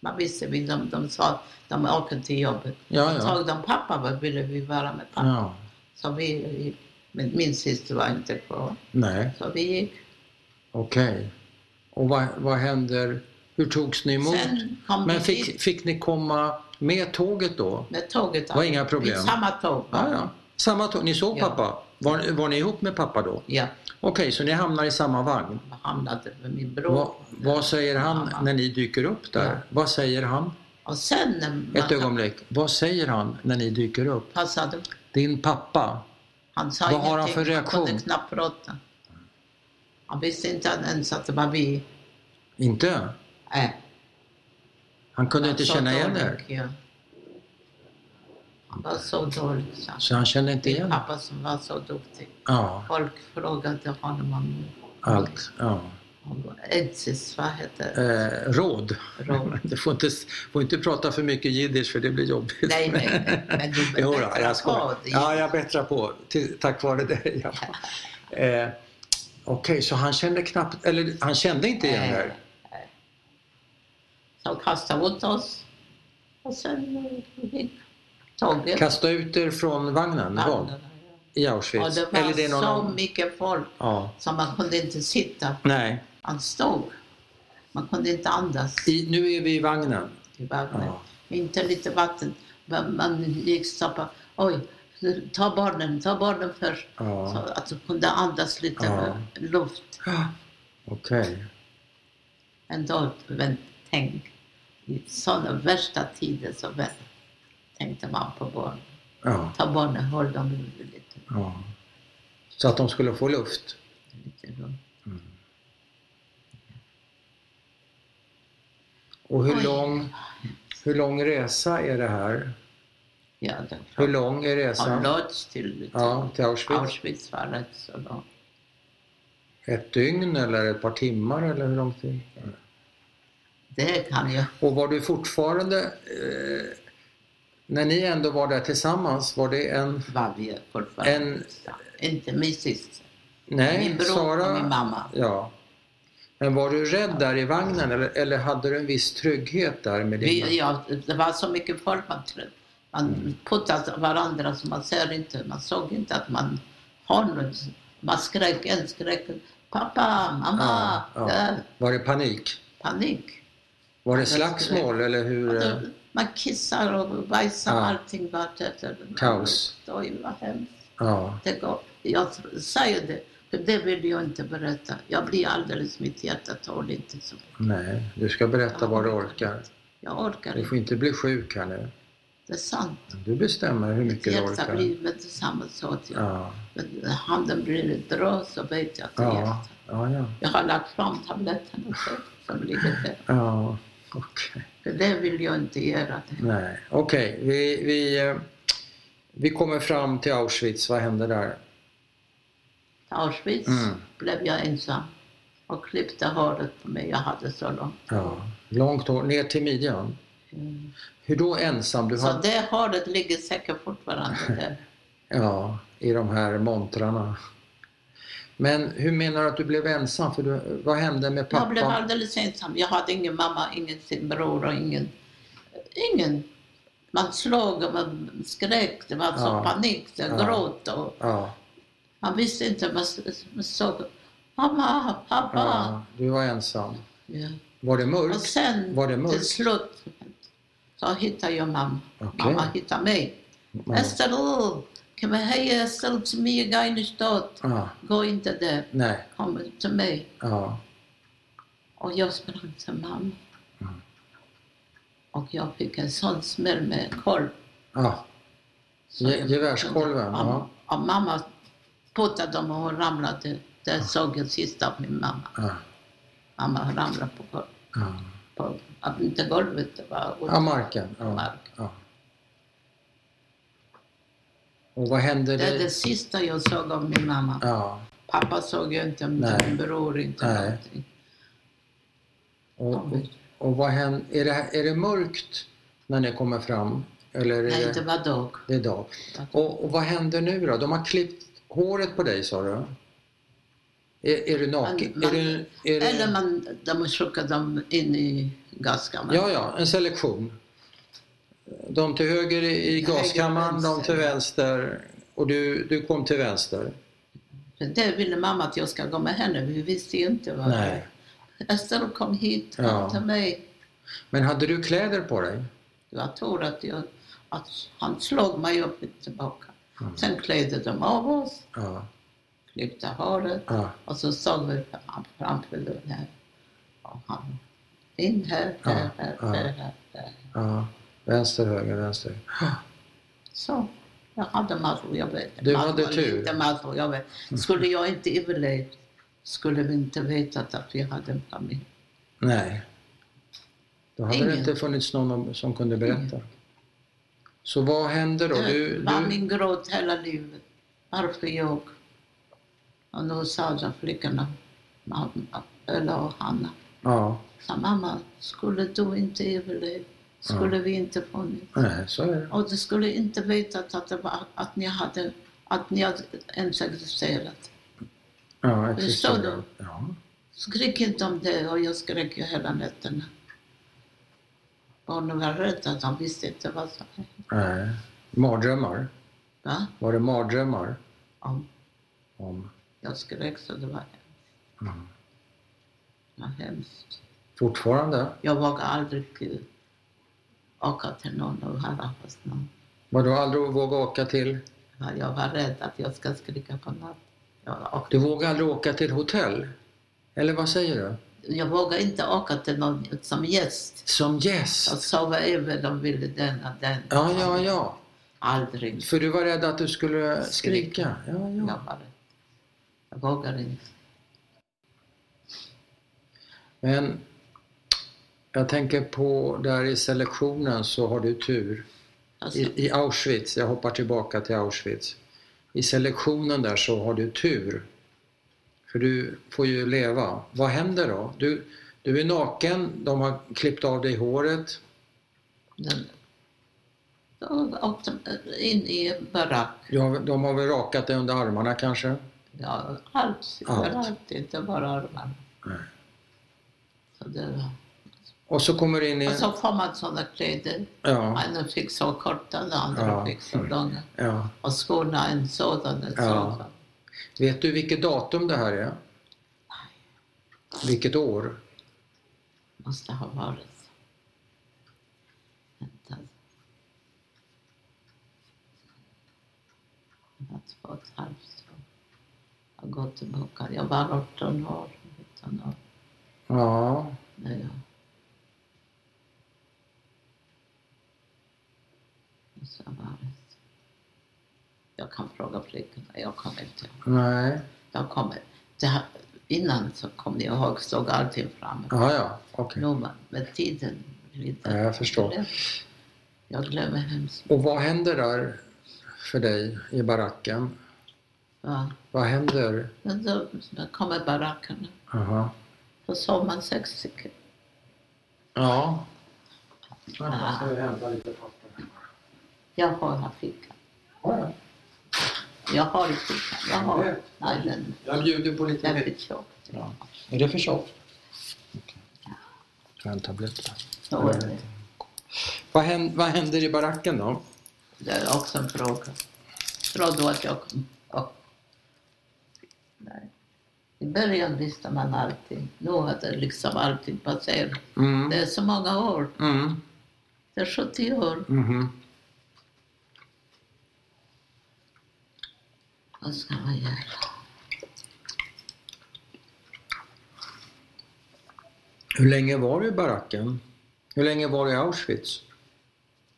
Speaker 1: Man visste, vi, de, de sa, de åker till jobbet.
Speaker 2: Ja,
Speaker 1: Så
Speaker 2: ja. Mm.
Speaker 1: tog de pappa, vad ville vi vara med pappa?
Speaker 2: ja.
Speaker 1: Så vi, vi- men min syster var inte kvar.
Speaker 2: Nej,
Speaker 1: Så vi gick.
Speaker 2: okej. Och vad, vad händer? Hur togs ni emot?
Speaker 1: Sen kom
Speaker 2: Men
Speaker 1: vi dit
Speaker 2: fick, fick ni komma med tåget då?
Speaker 1: med tåget.
Speaker 2: var inga problem.
Speaker 1: I samma tåg.
Speaker 2: Ja, ja. Samma tåg, ni såg
Speaker 1: Ja.
Speaker 2: pappa? Var, var ni ihop med pappa då?
Speaker 1: ja.
Speaker 2: Okej, så ni hamnar i samma vagn.
Speaker 1: Jag hamnade med min bror.
Speaker 2: Va, vad säger han
Speaker 1: Mamma.
Speaker 2: när ni dyker upp där?
Speaker 1: Ja.
Speaker 2: Vad säger han?
Speaker 1: Och sen när man
Speaker 2: Ett ögonblick. Vad säger han när ni dyker upp?
Speaker 1: passade,
Speaker 2: Din pappa?
Speaker 1: han sa
Speaker 2: Vad har han
Speaker 1: ingenting,
Speaker 2: för
Speaker 1: Han
Speaker 2: reaktion?
Speaker 1: kunde knappt prata. Han visste inte ens att det var vi.
Speaker 2: Inte?
Speaker 1: Äh,
Speaker 2: Han kunde
Speaker 1: han
Speaker 2: inte
Speaker 1: så
Speaker 2: känna igen
Speaker 1: dålig,
Speaker 2: er?
Speaker 1: Ja. Han var så dålig. Så.
Speaker 2: Så han kände inte
Speaker 1: Det är
Speaker 2: igen?
Speaker 1: pappa som var så duktig.
Speaker 2: Ja,
Speaker 1: Folk frågade honom om,
Speaker 2: allt. Ja.
Speaker 1: om Edsis, vad heter det?
Speaker 2: Eh, råd.
Speaker 1: Råd.
Speaker 2: Du får inte, får inte prata för mycket jiddisch för det blir jobbigt.
Speaker 1: Nej, nej, nej. Men du
Speaker 2: Jo, då,
Speaker 1: bättrar
Speaker 2: jag
Speaker 1: på
Speaker 2: skojar.
Speaker 1: det.
Speaker 2: Ja, jag bättrar på. Till, tack vare dig. Ja. Eh, Okej, så han kände knappt, eller han kände inte igen
Speaker 1: Nej.
Speaker 2: er?
Speaker 1: Så kastade åt oss. Och sen eh, gick tåget.
Speaker 2: Kasta ut er från vagnen, var, i
Speaker 1: Och
Speaker 2: Auschwitz?
Speaker 1: det var
Speaker 2: eller det är någon
Speaker 1: så
Speaker 2: annan-
Speaker 1: mycket folk
Speaker 2: Ja.
Speaker 1: så man kunde inte sitta.
Speaker 2: Nej,
Speaker 1: Han stod. Man kunde inte andas
Speaker 2: I, nu är vi i vagnen.
Speaker 1: i vagnen.
Speaker 2: Ja.
Speaker 1: Inte lite vatten. Men man gick stoppa. Oj, ta barnen, ta barnen först.
Speaker 2: Ja.
Speaker 1: Så att du kunde andas lite
Speaker 2: Ja.
Speaker 1: luft.
Speaker 2: Okej.
Speaker 1: Ändå, men tänk. I sådana värsta tider så vä- tänkte man på barn.
Speaker 2: Ja,
Speaker 1: Ta barnen, håll dem lite, lite,
Speaker 2: ja. Så att de skulle få luft.
Speaker 1: lite rum.
Speaker 2: Och hur
Speaker 1: Oj.
Speaker 2: lång, hur lång resa är det här?
Speaker 1: Ja, det
Speaker 2: Hur lång är
Speaker 1: Från
Speaker 2: resan?
Speaker 1: Lodz till,
Speaker 2: Ja, till Auschwitz.
Speaker 1: Auschwitz var rätt så långt.
Speaker 2: Ett dygn eller ett par timmar eller hur lång tid?
Speaker 1: Det kan jag.
Speaker 2: Och var du fortfarande, eh, när ni ändå var där tillsammans, var det en,
Speaker 1: Vad vi fortfarande
Speaker 2: En-
Speaker 1: sa. Inte min syster.
Speaker 2: nej,
Speaker 1: min bror och min
Speaker 2: Sara,
Speaker 1: mamma.
Speaker 2: ja. Men var du rädd där i vagnen eller, eller hade du en viss trygghet där med din
Speaker 1: Vi, ja, det var så mycket folk man trodde. Man
Speaker 2: Mm.
Speaker 1: puttade varandra så man ser inte. Man såg inte att man har något. Man skrek, en skrek pappa, mamma.
Speaker 2: Ja, ja.
Speaker 1: Äh,
Speaker 2: Var det panik?
Speaker 1: panik.
Speaker 2: Var det
Speaker 1: Jag
Speaker 2: slagsmål eller hur? eh,
Speaker 1: Då- Man kissar och bajsar
Speaker 2: Ja.
Speaker 1: allting vart efter.
Speaker 2: Kaos.
Speaker 1: Oj, vad hemskt.
Speaker 2: Ja,
Speaker 1: Det går. Jag säger det, för det vill jag inte berätta. Jag blir alldeles, mitt hjärta tål inte så mycket.
Speaker 2: nej, du ska berätta vad du orkar.
Speaker 1: Jag orkar
Speaker 2: Du
Speaker 1: inte.
Speaker 2: får inte bli sjuk här nu.
Speaker 1: Det är sant.
Speaker 2: Du bestämmer hur
Speaker 1: Mitt
Speaker 2: mycket du
Speaker 1: hjärta
Speaker 2: orkar.
Speaker 1: blir med detsamma så att jag,
Speaker 2: Ja,
Speaker 1: men handen blir lite röd så vet jag att det är
Speaker 2: ja,
Speaker 1: hjärtat.
Speaker 2: ja, ja.
Speaker 1: Jag har lagt fram tabletterna också, som ligger där.
Speaker 2: ja. Okej.
Speaker 1: För det vill jag inte göra. Det.
Speaker 2: Nej, okej. Vi, vi, eh, vi kommer fram till Auschwitz. Vad hände där?
Speaker 1: I Auschwitz
Speaker 2: Mm.
Speaker 1: blev jag ensam och klippte håret på mig. Jag hade så långt.
Speaker 2: Ja, långt hår, ner till midjan.
Speaker 1: Mm.
Speaker 2: Hur då ensam? Du
Speaker 1: Så
Speaker 2: hade,
Speaker 1: det håret ligger säkert fortfarande där.
Speaker 2: ja, i de här montrarna. Men hur menar du att du blev ensam? För du, vad hände med
Speaker 1: Jag blev
Speaker 2: pappa?
Speaker 1: alldeles ensam. Jag hade ingen mamma, ingen sin bror och ingen... Ingen. Man slog och man skrek. Det var så
Speaker 2: Ja.
Speaker 1: panik. Det
Speaker 2: Ja.
Speaker 1: gråt och
Speaker 2: Ja,
Speaker 1: man visste inte. Man s- man såg mamma, pappa.
Speaker 2: ja, du var ensam.
Speaker 1: Ja.
Speaker 2: Var det
Speaker 1: Och
Speaker 2: mörkt?
Speaker 1: sen
Speaker 2: Var det mörkt?
Speaker 1: till slut så hittade jag mamma.
Speaker 2: Okej.
Speaker 1: Mamma hittade mig.
Speaker 2: Ja.
Speaker 1: Estel, kom hej Estel, till mig, Geinerstadt.
Speaker 2: Ja,
Speaker 1: Gå inte där.
Speaker 2: nej.
Speaker 1: Kom till mig.
Speaker 2: Ja,
Speaker 1: Och jag sprang till mamma.
Speaker 2: Mm.
Speaker 1: Och jag fick en sån smäll med kolv.
Speaker 2: ja.
Speaker 1: Så
Speaker 2: Ge-
Speaker 1: jag-
Speaker 2: Gevärskolven?
Speaker 1: Ja,
Speaker 2: Ja.
Speaker 1: och mamma puttade dem och hon ramlade. Där såg jag sist av min mamma.
Speaker 2: ja.
Speaker 1: Mamma ramlade på golvet.
Speaker 2: ja.
Speaker 1: på, ja, inte golvet, det var
Speaker 2: Ja, marken. Ja.
Speaker 1: mark.
Speaker 2: Ja. Och vad hände?
Speaker 1: Det är det
Speaker 2: Det...
Speaker 1: sista jag såg av min mamma.
Speaker 2: Ja.
Speaker 1: Pappa såg jag inte,
Speaker 2: Nej.
Speaker 1: min bror inte
Speaker 2: Nej.
Speaker 1: någonting.
Speaker 2: Och, och vad hände? Är det, här- är det mörkt när ni kommer fram? Eller är
Speaker 1: Nej, det
Speaker 2: det,
Speaker 1: var dag.
Speaker 2: det är dag? Och, och vad händer nu då? De har klippt håret på dig sa du? Är, är du naken?
Speaker 1: Man-
Speaker 2: är du, är du...
Speaker 1: Eller man, de skickade dem in i gaskammaren.
Speaker 2: Ja, ja, en selektion. De till höger i i
Speaker 1: Höger,
Speaker 2: gaskammaren, de
Speaker 1: vänster.
Speaker 2: till vänster och du, du kom till vänster.
Speaker 1: För Det ville mamma att jag ska gå med henne. Vi visste ju inte vad
Speaker 2: Nej.
Speaker 1: Ester kom hit, kom
Speaker 2: Ja.
Speaker 1: till mig.
Speaker 2: Men hade du kläder på dig?
Speaker 1: Jag tror att, jag, att han slog mig upp och tillbaka.
Speaker 2: Mm.
Speaker 1: Sen klädde de av oss,
Speaker 2: Ja.
Speaker 1: klippte håret
Speaker 2: ja.
Speaker 1: och så såg vi fram- framför den här. Och han in här,
Speaker 2: Ja,
Speaker 1: där, där,
Speaker 2: ja.
Speaker 1: där, där, där.
Speaker 2: ja. Vänster, höger, vänster.
Speaker 1: Så. Jag hade massor, jag vet.
Speaker 2: Du hade
Speaker 1: Massor,
Speaker 2: tur.
Speaker 1: Inte massor, jag vet. Skulle jag inte överlevt skulle vi inte vetat att vi hade en familj.
Speaker 2: Nej. Då hade det
Speaker 1: Ingen.
Speaker 2: inte funnits någon som kunde berätta. Så vad händer då? Du,
Speaker 1: Det var
Speaker 2: du,
Speaker 1: min gråt hela livet. Varför jag? Och nu sa de flickorna, mamma, eller Hanna,
Speaker 2: ja,
Speaker 1: sa mamma, skulle du inte överleva? Skulle vi inte funnits?
Speaker 2: nej, så är det.
Speaker 1: Och du skulle inte vetat att, det var, att ni hade, att ni hade ens existerat.
Speaker 2: Ja,
Speaker 1: Förstår du?
Speaker 2: Ja.
Speaker 1: Skrik inte om det och jag skrek ju hela nätterna. Barnen var rädda, att de visste inte vad som hände.
Speaker 2: Nej. Mardrömmar?
Speaker 1: Va?
Speaker 2: Var det mardrömmar?
Speaker 1: Ja,
Speaker 2: Om.
Speaker 1: jag skrek så det var hemskt.
Speaker 2: Mm.
Speaker 1: Det var hemskt.
Speaker 2: Fortfarande?
Speaker 1: Jag vågar aldrig eh, åka till någon och höra hos någon.
Speaker 2: Var du aldrig våga åka till?
Speaker 1: Ja, Jag var rädd att jag ska skrika på något. Jag, åkte-
Speaker 2: Du vågar aldrig åka till ett hotell? Eller vad säger du?
Speaker 1: jag vågar inte åka till någon som gäst.
Speaker 2: Som gäst?
Speaker 1: Jag sova över, de ville den och den.
Speaker 2: Ja, ja, ja.
Speaker 1: Aldrig.
Speaker 2: För du var rädd att du skulle skrika? Ja,
Speaker 1: Jag,
Speaker 2: ja.
Speaker 1: var rädd. jag vågar inte.
Speaker 2: Men jag tänker på där i selektionen så har du tur.
Speaker 1: Alltså,
Speaker 2: I, I Auschwitz, jag hoppar tillbaka till Auschwitz. I selektionen där så har du tur. För du får ju leva. Vad händer då? Du, du är naken, de har klippt av dig håret.
Speaker 1: den, då åkte de in i en barack.
Speaker 2: Ja, de har väl rakat dig under armarna kanske?
Speaker 1: Ja, allt.
Speaker 2: Allt.
Speaker 1: Överallt, inte bara armarna.
Speaker 2: Nej.
Speaker 1: Så det var.
Speaker 2: Och så kommer du in i...
Speaker 1: Och så får man sådana kläder.
Speaker 2: Ja,
Speaker 1: Ena fick så korta, den andra
Speaker 2: Ja.
Speaker 1: fick så långa.
Speaker 2: ja.
Speaker 1: Och skorna en sådan, en
Speaker 2: Ja.
Speaker 1: sådan.
Speaker 2: Vet du vilket datum det här är? Vilket år?
Speaker 1: Måste ha varit. Vänta. Det var två och ett halvt år. Jag går tillbaka. Jag var 18 år, 19 år.
Speaker 2: Ja,
Speaker 1: när jag... Måste ha varit. Jag kan fråga flickorna, jag kommer inte ihåg.
Speaker 2: nej.
Speaker 1: Jag kommer. Det här, innan så kom jag ihåg, såg allting fram.
Speaker 2: Ja, ja, okej.
Speaker 1: Nu med- med tiden glider.
Speaker 2: Ja, jag förstår.
Speaker 1: Jag glömmer hemskt.
Speaker 2: Och vad händer där för dig i baracken?
Speaker 1: Ja.
Speaker 2: Vad händer?
Speaker 1: Men då, då kommer barackerna.
Speaker 2: Aha.
Speaker 1: Då sov man sex stycken.
Speaker 2: Ja.
Speaker 1: jag ska
Speaker 2: hämta lite papper.
Speaker 1: Jag har här fickan.
Speaker 2: Ja,
Speaker 1: Jag har i fickan. Jag har. Nej, den,
Speaker 2: jag bjuder på
Speaker 1: den är för tjock.
Speaker 2: Ja. Är det för tjockt? Ta en tablett. där.
Speaker 1: Så är det.
Speaker 2: Vad händer, vad händer i baracken då?
Speaker 1: Det är också en fråga. Tror du att jag kom ihåg? Nej. I början visste man allting. Nu har det liksom allting passerat.
Speaker 2: Mm.
Speaker 1: Det är så många år.
Speaker 2: Mm.
Speaker 1: Det är 70 år.
Speaker 2: Mhm.
Speaker 1: Vad ska man göra?
Speaker 2: Hur länge var du i baracken? Hur länge var du i Auschwitz?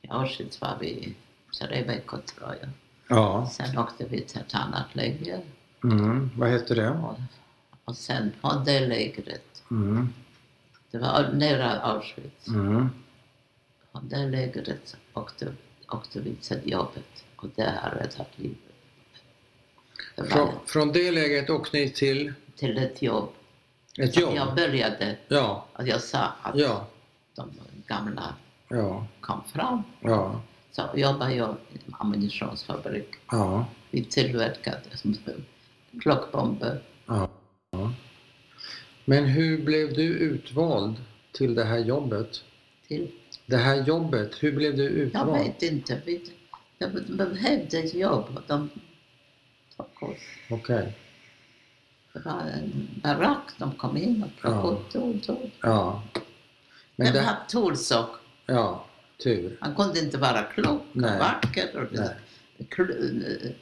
Speaker 1: I Auschwitz var vi i tre veckor tror jag.
Speaker 2: Ja.
Speaker 1: Sen åkte vi till ett annat läger.
Speaker 2: Mm. Vad hette det?
Speaker 1: Och, och sen från det lägret,
Speaker 2: Mm.
Speaker 1: då Det var nära Auschwitz.
Speaker 2: Mm.
Speaker 1: Och där lägret åkte, åkte vi till jobbet och det har räddat livet. Det
Speaker 2: Från,
Speaker 1: var
Speaker 2: från det läget åkte ni till
Speaker 1: till ett jobb.
Speaker 2: ett
Speaker 1: Som
Speaker 2: jobb?
Speaker 1: jag började,
Speaker 2: Ja,
Speaker 1: och jag sa att
Speaker 2: ja,
Speaker 1: de gamla
Speaker 2: ja,
Speaker 1: kom fram.
Speaker 2: ja,
Speaker 1: Så jobbade jag i en ammunitionsfabrik.
Speaker 2: ja.
Speaker 1: Vi tillverkade som klockbomber.
Speaker 2: ja. Men hur blev du utvald till det här jobbet?
Speaker 1: Till
Speaker 2: Det här jobbet, hur blev du
Speaker 1: Jag
Speaker 2: utvald?
Speaker 1: vet inte. Vi, de de behövde ett jobb. och De tog oss.
Speaker 2: Okej,
Speaker 1: Det var en barack. De kom in och
Speaker 2: Ja.
Speaker 1: plockade upp tog, tog.
Speaker 2: ja. Men
Speaker 1: Men
Speaker 2: det,
Speaker 1: det var Torsåk.
Speaker 2: ja, tur.
Speaker 1: Han kunde inte vara klok och
Speaker 2: Nej.
Speaker 1: vacker och
Speaker 2: Nej.
Speaker 1: kl-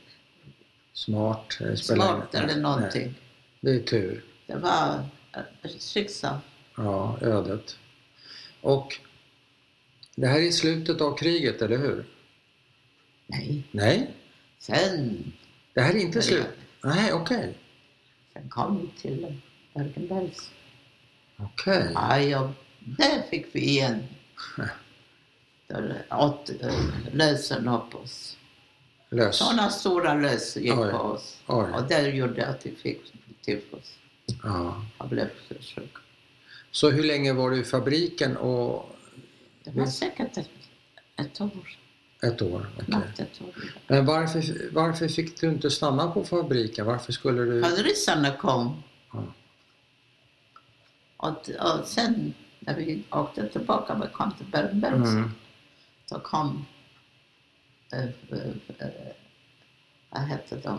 Speaker 2: Smart. eh, spelar ingen-
Speaker 1: smart eller
Speaker 2: nej,
Speaker 1: någonting.
Speaker 2: nej. Det är tur.
Speaker 1: Det var eh, ett skicksal.
Speaker 2: Ja, ödet. Och det här är slutet av kriget, eller hur?
Speaker 1: Nej,
Speaker 2: Nej,
Speaker 1: sen,
Speaker 2: det här är inte
Speaker 1: Nej.
Speaker 2: slut. Nej, okej.
Speaker 1: sen kom vi till Bergen-Belsen.
Speaker 2: Okej.
Speaker 1: Ja, ja, där fick vi igen. Där åt, eh, lösen upp oss.
Speaker 2: Lös.
Speaker 1: Sådana stora löss gick
Speaker 2: Oj.
Speaker 1: på oss.
Speaker 2: Oj.
Speaker 1: Och det gjorde att vi fick tyfus.
Speaker 2: Ja.
Speaker 1: Jag blev så sjuk.
Speaker 2: Så hur länge var du i fabriken? Och
Speaker 1: Det var
Speaker 2: Mm.
Speaker 1: säkert ett, ett år,
Speaker 2: ett år? Okej.
Speaker 1: knappt ett år.
Speaker 2: Men varför, varför fick du inte stanna på fabriken? Varför skulle du...
Speaker 1: För ryssarna kom.
Speaker 2: Ja.
Speaker 1: Och, och sen när vi åkte tillbaka, vi kom till Bergen
Speaker 2: Mm.
Speaker 1: då kom, eh, eh, eh, vad hette de,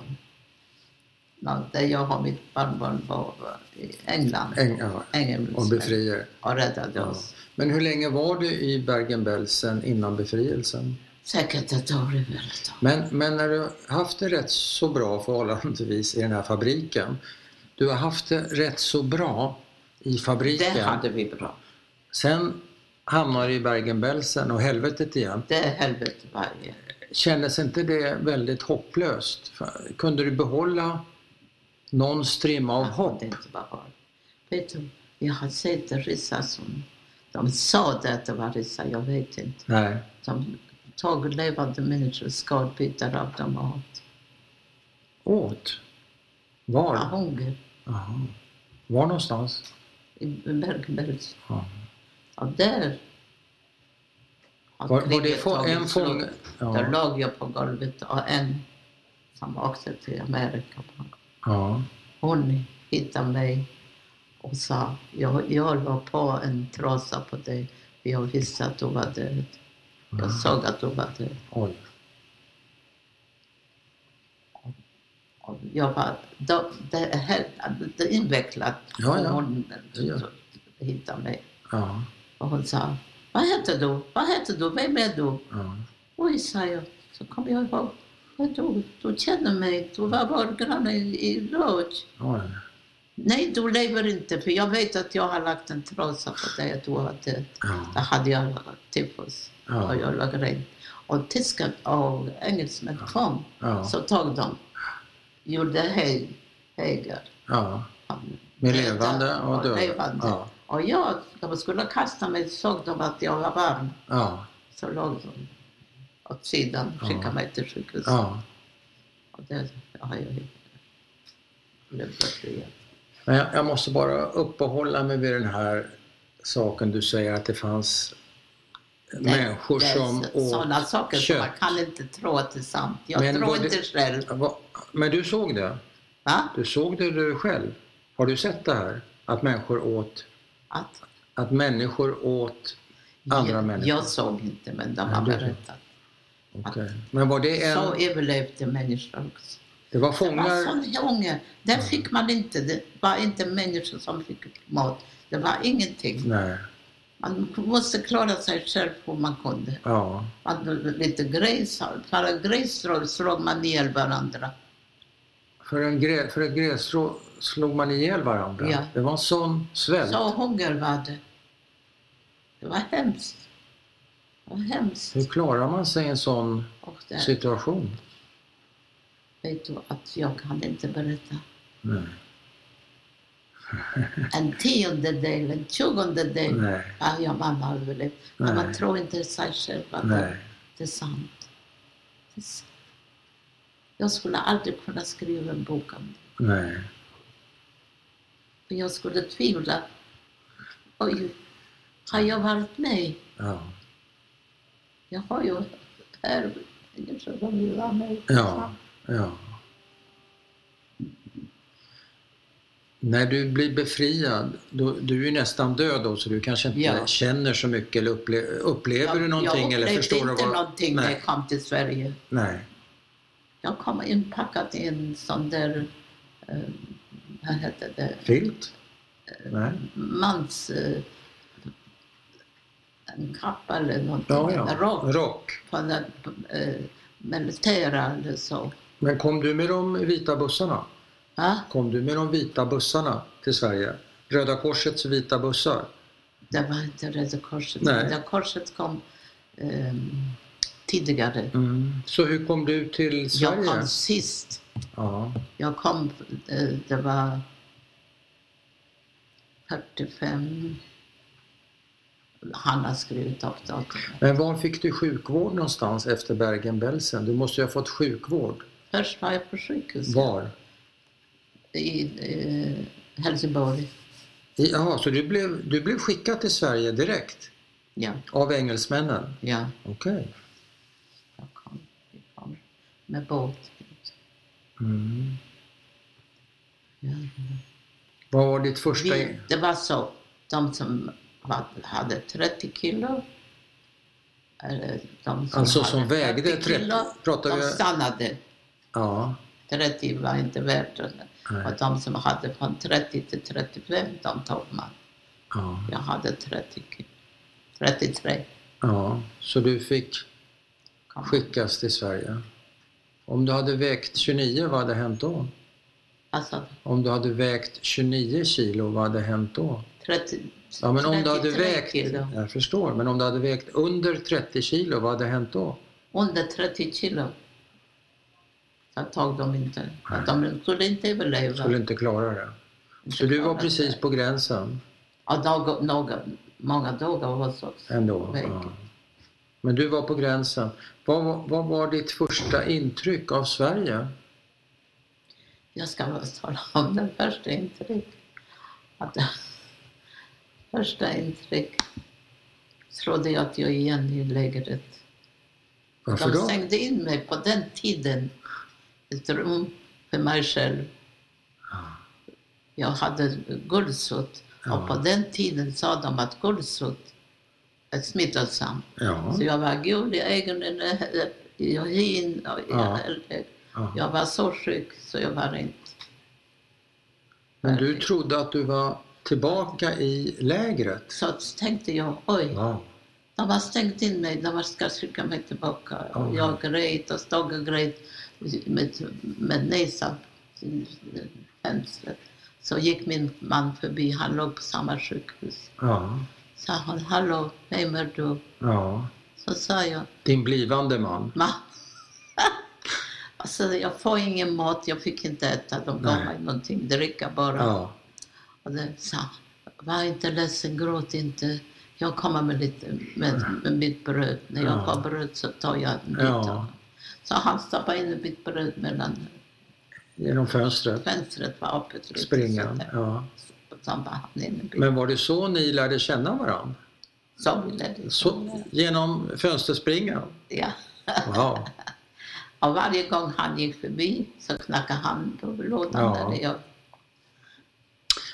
Speaker 1: no, där jag och mitt barnbarn var var i England.
Speaker 2: Äng, ja. Och
Speaker 1: Engelsmän.
Speaker 2: befrier.
Speaker 1: Och räddade
Speaker 2: Ja.
Speaker 1: oss.
Speaker 2: Men hur länge var du i Bergen-Belsen innan befrielsen?
Speaker 1: Säkert ett år i världen.
Speaker 2: Men, men när du haft det rätt så bra förhållandevis i den här fabriken. Du har haft det rätt så bra i fabriken.
Speaker 1: Det hade vi bra.
Speaker 2: Sen hamnar du i Bergen-Belsen och helvetet igen.
Speaker 1: Det är helvete varje.
Speaker 2: Kändes inte det väldigt hopplöst? För- Kunde du behålla någon strimma av
Speaker 1: Jag
Speaker 2: hopp?
Speaker 1: kunde inte vara kvar. Vet du, jag har sett ryssar som, de sa det att det var ryssar, jag vet inte.
Speaker 2: Nej.
Speaker 1: De tog levande människor, skalbitar av dem och åt.
Speaker 2: Åt?
Speaker 1: Det
Speaker 2: Var?
Speaker 1: var hunger
Speaker 2: Jaha. Var någonstans?
Speaker 1: i Bergen-Belsen.
Speaker 2: Ja.
Speaker 1: Ja, där. har
Speaker 2: Var, var det
Speaker 1: kriget
Speaker 2: få,
Speaker 1: tagit
Speaker 2: en
Speaker 1: slut.
Speaker 2: fånge?
Speaker 1: Där
Speaker 2: Ja.
Speaker 1: låg jag på golvet och en som åkte till Amerika.
Speaker 2: ja.
Speaker 1: Hon hittade mig och sa, jag, jag var på en trasa på dig för jag visste att du var död.
Speaker 2: Ah.
Speaker 1: Jag såg att du var död.
Speaker 2: Oj.
Speaker 1: Och jag var, då, det är helt det är invecklat.
Speaker 2: Ja, ja.
Speaker 1: Och Hon
Speaker 2: Ja.
Speaker 1: hittade mig
Speaker 2: Ja.
Speaker 1: och hon sa, vad heter du? Vad heter du? Vem är du?
Speaker 2: ja.
Speaker 1: Oj, sa jag. Så kom jag ihåg. Men du, du känner mig. Du var vår granne i, i Lodz.
Speaker 2: Oj.
Speaker 1: Nej, du lever inte. För jag vet att jag har lagt en trasa på dig att du har dött. Då
Speaker 2: Ja.
Speaker 1: hade jag tyfus. Och
Speaker 2: Ja.
Speaker 1: jag låg rädd. Och tyskar och engelsmän kom.
Speaker 2: Ja.
Speaker 1: Så tog de. Gjorde hej, hejar.
Speaker 2: ja. Med levande och döda.
Speaker 1: Levande.
Speaker 2: Ja.
Speaker 1: Och jag, de skulle kasta mig, såg de att jag var varm.
Speaker 2: Ja.
Speaker 1: Så låg de åt sidan, skickade
Speaker 2: Ja.
Speaker 1: mig till sjukhuset.
Speaker 2: ja.
Speaker 1: Och det har jag ju blivit befriad.
Speaker 2: Men jag, jag måste bara uppehålla mig vid den här saken du säger att det fanns människor
Speaker 1: det är
Speaker 2: som
Speaker 1: så-
Speaker 2: åt...
Speaker 1: Sådana saker som
Speaker 2: kött.
Speaker 1: man kan inte tro att det är sant. Jag
Speaker 2: Men
Speaker 1: tror
Speaker 2: var det-
Speaker 1: inte själv.
Speaker 2: Va- Men du såg det?
Speaker 1: Va?
Speaker 2: Du såg det du själv? Har du sett det här? Att människor åt,
Speaker 1: Att
Speaker 2: att människor åt andra
Speaker 1: jag,
Speaker 2: människor?
Speaker 1: jag såg inte, men de har
Speaker 2: Nej, du-
Speaker 1: berättat.
Speaker 2: Okej. Men var det en...
Speaker 1: Så överlevde människor också.
Speaker 2: Det
Speaker 1: Det
Speaker 2: var
Speaker 1: var
Speaker 2: fångar?
Speaker 1: sån hunger. Där fick man inte. Det var inte människor som fick mat. Det var ingenting.
Speaker 2: Nej.
Speaker 1: Man måste klara sig själv hur man kunde.
Speaker 2: Ja.
Speaker 1: Man, lite grisar, bara grisar slog man ihjäl varandra.
Speaker 2: För, en grä, för ett grässtrå slog man ihjäl varandra.
Speaker 1: Ja.
Speaker 2: Det var en sån svält.
Speaker 1: Så hunger var det. Det var hemskt. Det var hemskt.
Speaker 2: Hur klarar man sig i en sån
Speaker 1: Och där
Speaker 2: situation?
Speaker 1: vet du att jag kan inte berätta.
Speaker 2: Nej.
Speaker 1: en tiondedel, en tjugondedel
Speaker 2: Nej.
Speaker 1: av ja, man har överlevt. Men man
Speaker 2: Nej.
Speaker 1: tror inte sig själv att
Speaker 2: Nej.
Speaker 1: det är sant. Det är sant. Jag skulle aldrig kunna skriva en bok om det.
Speaker 2: Nej.
Speaker 1: För jag skulle tvivla. Oj, har jag varit med?
Speaker 2: Ja.
Speaker 1: Jag har ju här människor som vill vara med.
Speaker 2: Ja. ja. När du blir befriad, då, du är ju nästan död då så du kanske inte
Speaker 1: Ja.
Speaker 2: känner så mycket eller upple, upplever
Speaker 1: Jag-
Speaker 2: du någonting
Speaker 1: jag
Speaker 2: eller förstår du
Speaker 1: upplevde inte
Speaker 2: vad...
Speaker 1: någonting när
Speaker 2: Nej.
Speaker 1: jag kom till Sverige.
Speaker 2: Nej.
Speaker 1: Jag kom inpackad i en sån där, eh, vad hette det,
Speaker 2: Filt? Nej.
Speaker 1: mans... Eh, en kappa eller någonting,
Speaker 2: Ja, ja.
Speaker 1: en rock
Speaker 2: Rock.
Speaker 1: från den eh, militära eller så.
Speaker 2: Men kom du med de vita bussarna?
Speaker 1: Va?
Speaker 2: Kom du med de vita bussarna till Sverige? Röda Korsets vita bussar?
Speaker 1: Det var inte Röda Korset.
Speaker 2: Nej.
Speaker 1: Röda Korset kom eh, tidigare.
Speaker 2: Så hur kom du till Sverige?
Speaker 1: Mm. Jag kom sist.
Speaker 2: Ja.
Speaker 1: Jag kom, eh, det var 45. Han har skrivit upp datumet.
Speaker 2: Men var fick du sjukvård någonstans efter Bergen-Belsen? Du måste ju ha fått sjukvård.
Speaker 1: Först var jag på sjukhus
Speaker 2: Var?
Speaker 1: i eh, Helsingborg.
Speaker 2: I- Jaha, så du blev, du blev skickad till Sverige direkt?
Speaker 1: Ja,
Speaker 2: Av engelsmännen?
Speaker 1: ja,
Speaker 2: Okej.
Speaker 1: jag kom. Vi kom med båt.
Speaker 2: Mm.
Speaker 1: Ja.
Speaker 2: Vad var ditt första...
Speaker 1: Vi, det var så, de som var, hade 30 kilo, eller de som
Speaker 2: Alltså
Speaker 1: hade
Speaker 2: som vägde
Speaker 1: 30
Speaker 2: 30...
Speaker 1: kilo,
Speaker 2: Pratar
Speaker 1: de
Speaker 2: vi...
Speaker 1: stannade.
Speaker 2: Ja.
Speaker 1: 30 var inte värt det.
Speaker 2: Nej.
Speaker 1: Och de som hade från 30 till 35, de tog man.
Speaker 2: Ja.
Speaker 1: Jag hade 30 kilo. 33.
Speaker 2: ja. Så du fick
Speaker 1: kom.
Speaker 2: skickas till Sverige? Om du hade vägt 29, vad hade hänt då?
Speaker 1: Alltså
Speaker 2: Om du hade vägt 29 kilo, vad hade hänt då?
Speaker 1: 30,
Speaker 2: Ja, men om du hade
Speaker 1: 33
Speaker 2: vägt...
Speaker 1: kilo.
Speaker 2: Jag förstår, men om du hade vägt under 30 kilo, vad hade hänt då?
Speaker 1: Under 30 kilo. Så tog de inte. För De skulle inte överleva.
Speaker 2: Skulle inte klara det.
Speaker 1: Inte
Speaker 2: Så du var
Speaker 1: klara
Speaker 2: precis
Speaker 1: det.
Speaker 2: på gränsen
Speaker 1: Ja, dagar, några, många dagar var så.
Speaker 2: ändå?
Speaker 1: Nej.
Speaker 2: Ja. Men du var på gränsen. Vad, var- vad var ditt första intryck av Sverige?
Speaker 1: Jag ska bara tala om det första intryck. Att, första intryck trodde jag att jag igen i lägret.
Speaker 2: Varför
Speaker 1: De
Speaker 2: då?
Speaker 1: stängde in mig på den tiden i ett rum för mig själv. Jag hade gulsot
Speaker 2: Ja.
Speaker 1: och på den tiden sa de att gulsot är smittosamt.
Speaker 2: Ja.
Speaker 1: Så jag var gul i ögonen, eh, i hyn och i
Speaker 2: Ja. ja.
Speaker 1: Jag var så sjuk så jag var inte...
Speaker 2: Men du trodde att du var tillbaka i lägret?
Speaker 1: Så tänkte jag, oj,
Speaker 2: Ja.
Speaker 1: de har stängt in mig, de ska skicka mig tillbaka.
Speaker 2: Ja.
Speaker 1: Jag grät och stod och grät med, med näsan till fönstret. Så gick min man förbi, han låg på samma sjukhus.
Speaker 2: Ja.
Speaker 1: Sa han, hallå, vem är du?
Speaker 2: ja.
Speaker 1: Så sa jag,
Speaker 2: Din blivande man?
Speaker 1: Ma. alltså jag får ingen mat, jag fick inte äta. De gav
Speaker 2: Nej.
Speaker 1: mig någonting, dricka bara.
Speaker 2: Ja.
Speaker 1: Och det sa han, var inte ledsen, gråt inte. Jag kommer med, lite, med, med mitt bröd. När jag
Speaker 2: Ja.
Speaker 1: har bröd så tar jag en bit
Speaker 2: Ja.
Speaker 1: av det." Så han stoppade in en bit bröd mellan
Speaker 2: Genom fönstret?
Speaker 1: fönstret var öppet. lite
Speaker 2: Springan?
Speaker 1: så där.
Speaker 2: Ja.
Speaker 1: Så han bara hann in en bit.
Speaker 2: Men var det så ni lärde känna varandra?
Speaker 1: Så ville det.
Speaker 2: Så, genom fönsterspringan?
Speaker 1: Ja.
Speaker 2: Wow.
Speaker 1: Och varje gång han gick förbi så knackade han på lådan
Speaker 2: Ja.
Speaker 1: där jag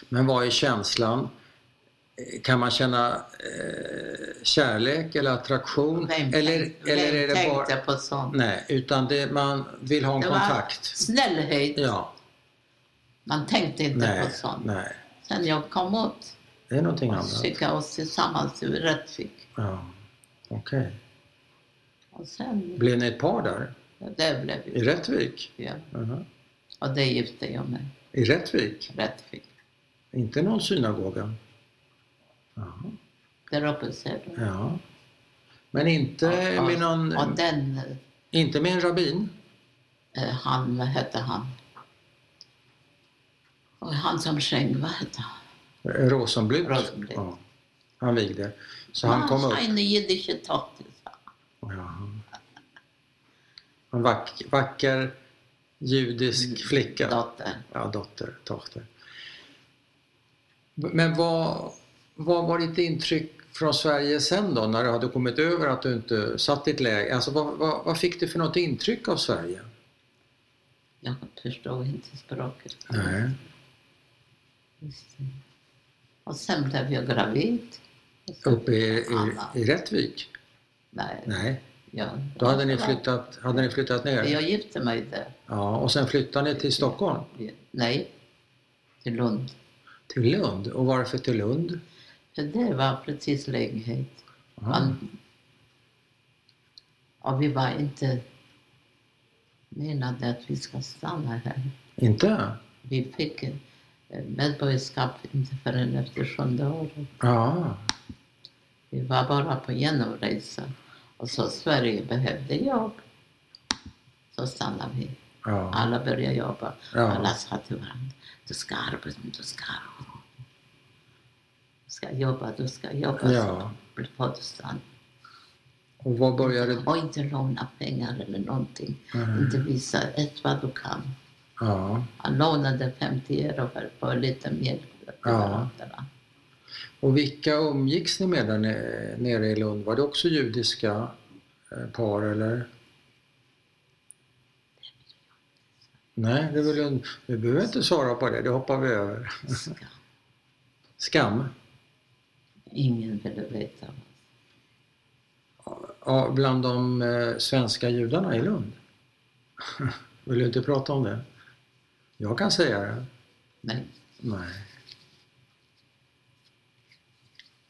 Speaker 2: Men vad är känslan? Eh, Kan man känna eh, kärlek eller attraktion?
Speaker 1: Vem,
Speaker 2: eller,
Speaker 1: tänk,
Speaker 2: eller
Speaker 1: vem
Speaker 2: är det
Speaker 1: tänkte
Speaker 2: bara...
Speaker 1: på sånt?
Speaker 2: Nej, utan det, man vill ha en
Speaker 1: Det var
Speaker 2: kontakt.
Speaker 1: snällhet.
Speaker 2: Ja,
Speaker 1: Man tänkte inte på
Speaker 2: nej,
Speaker 1: sånt.
Speaker 2: nej.
Speaker 1: Sen jag kom åt
Speaker 2: Det är någonting
Speaker 1: och
Speaker 2: annat.
Speaker 1: skickade oss tillsammans i Rättvik.
Speaker 2: Ja. Okej.
Speaker 1: Och sen,
Speaker 2: Blev ni ett par där?
Speaker 1: det blev
Speaker 2: I
Speaker 1: vi.
Speaker 2: Rättvik?
Speaker 1: Ja.
Speaker 2: Jaha.
Speaker 1: Och det gifte jag mig
Speaker 2: I Rättvik?
Speaker 1: Rättvik.
Speaker 2: Inte någon synagoga? Jaha.
Speaker 1: Där uppe ser du.
Speaker 2: Ja. Men inte,
Speaker 1: och,
Speaker 2: med någon,
Speaker 1: och den, eh,
Speaker 2: inte med en rabbin?
Speaker 1: han, vad hette han? Och han som sjöng, vad hette han?
Speaker 2: Rosenblut.
Speaker 1: Rosenblut.
Speaker 2: Ja. Han vigde. Så han kom upp.
Speaker 1: Eine jiddische Tochter, sa han.
Speaker 2: Ja. En vack, vacker judisk flicka.
Speaker 1: Mm. Dotter.
Speaker 2: Ja, dotter, dochter. Men vad, vad var ditt intryck från Sverige sen då, när du hade kommit över att du inte satt i ett läger? Alltså, vad, vad, vad fick du för något intryck av Sverige?
Speaker 1: Jag förstod inte språket.
Speaker 2: Nej.
Speaker 1: Just det. Och sen blev jag gravid. Och sen-
Speaker 2: Uppe i, i,
Speaker 1: Anna.
Speaker 2: i Rättvik?
Speaker 1: Nej.
Speaker 2: Nej.
Speaker 1: Jag,
Speaker 2: Då hade ni flyttat, hade ni flyttat ner?
Speaker 1: Jag gifte mig där.
Speaker 2: Ja, och sen flyttade ni till Stockholm?
Speaker 1: Nej, till Lund.
Speaker 2: Till Lund? Och varför till Lund?
Speaker 1: För det var precis lägenhet.
Speaker 2: Aha.
Speaker 1: Och vi var inte menade att vi ska stanna här.
Speaker 2: Inte?
Speaker 1: Vi fick eh, medborgarskap inte förrän efter sjunde året.
Speaker 2: Ja.
Speaker 1: Vi var bara på genomresa. Och så Sverige behövde jobb. Så stannade vi.
Speaker 2: ja.
Speaker 1: Alla började jobba.
Speaker 2: Ja.
Speaker 1: Alla sa till varandra, du ska arbeta, du ska arbeta. Du ska jobba, du ska jobba.
Speaker 2: Ja.
Speaker 1: Så får du stanna.
Speaker 2: Och vad började...
Speaker 1: Och inte låna pengar eller någonting.
Speaker 2: Mm.
Speaker 1: Inte visa ett vad du kan.
Speaker 2: Ja.
Speaker 1: Han lånade 50 euro för, för lite mjölk. till
Speaker 2: Ja.
Speaker 1: varandra.
Speaker 2: Och vilka umgicks ni med där ne- nere i Lund? Var det också judiska eh, par eller? Nej, det vill jag inte. Du behöver inte svara på det, det hoppar vi över.
Speaker 1: Ska.
Speaker 2: Skam?
Speaker 1: Ingen ville veta.
Speaker 2: Ja, bland de eh, svenska judarna i Lund? Vill du inte prata om det? Jag kan säga det.
Speaker 1: Men
Speaker 2: Nej.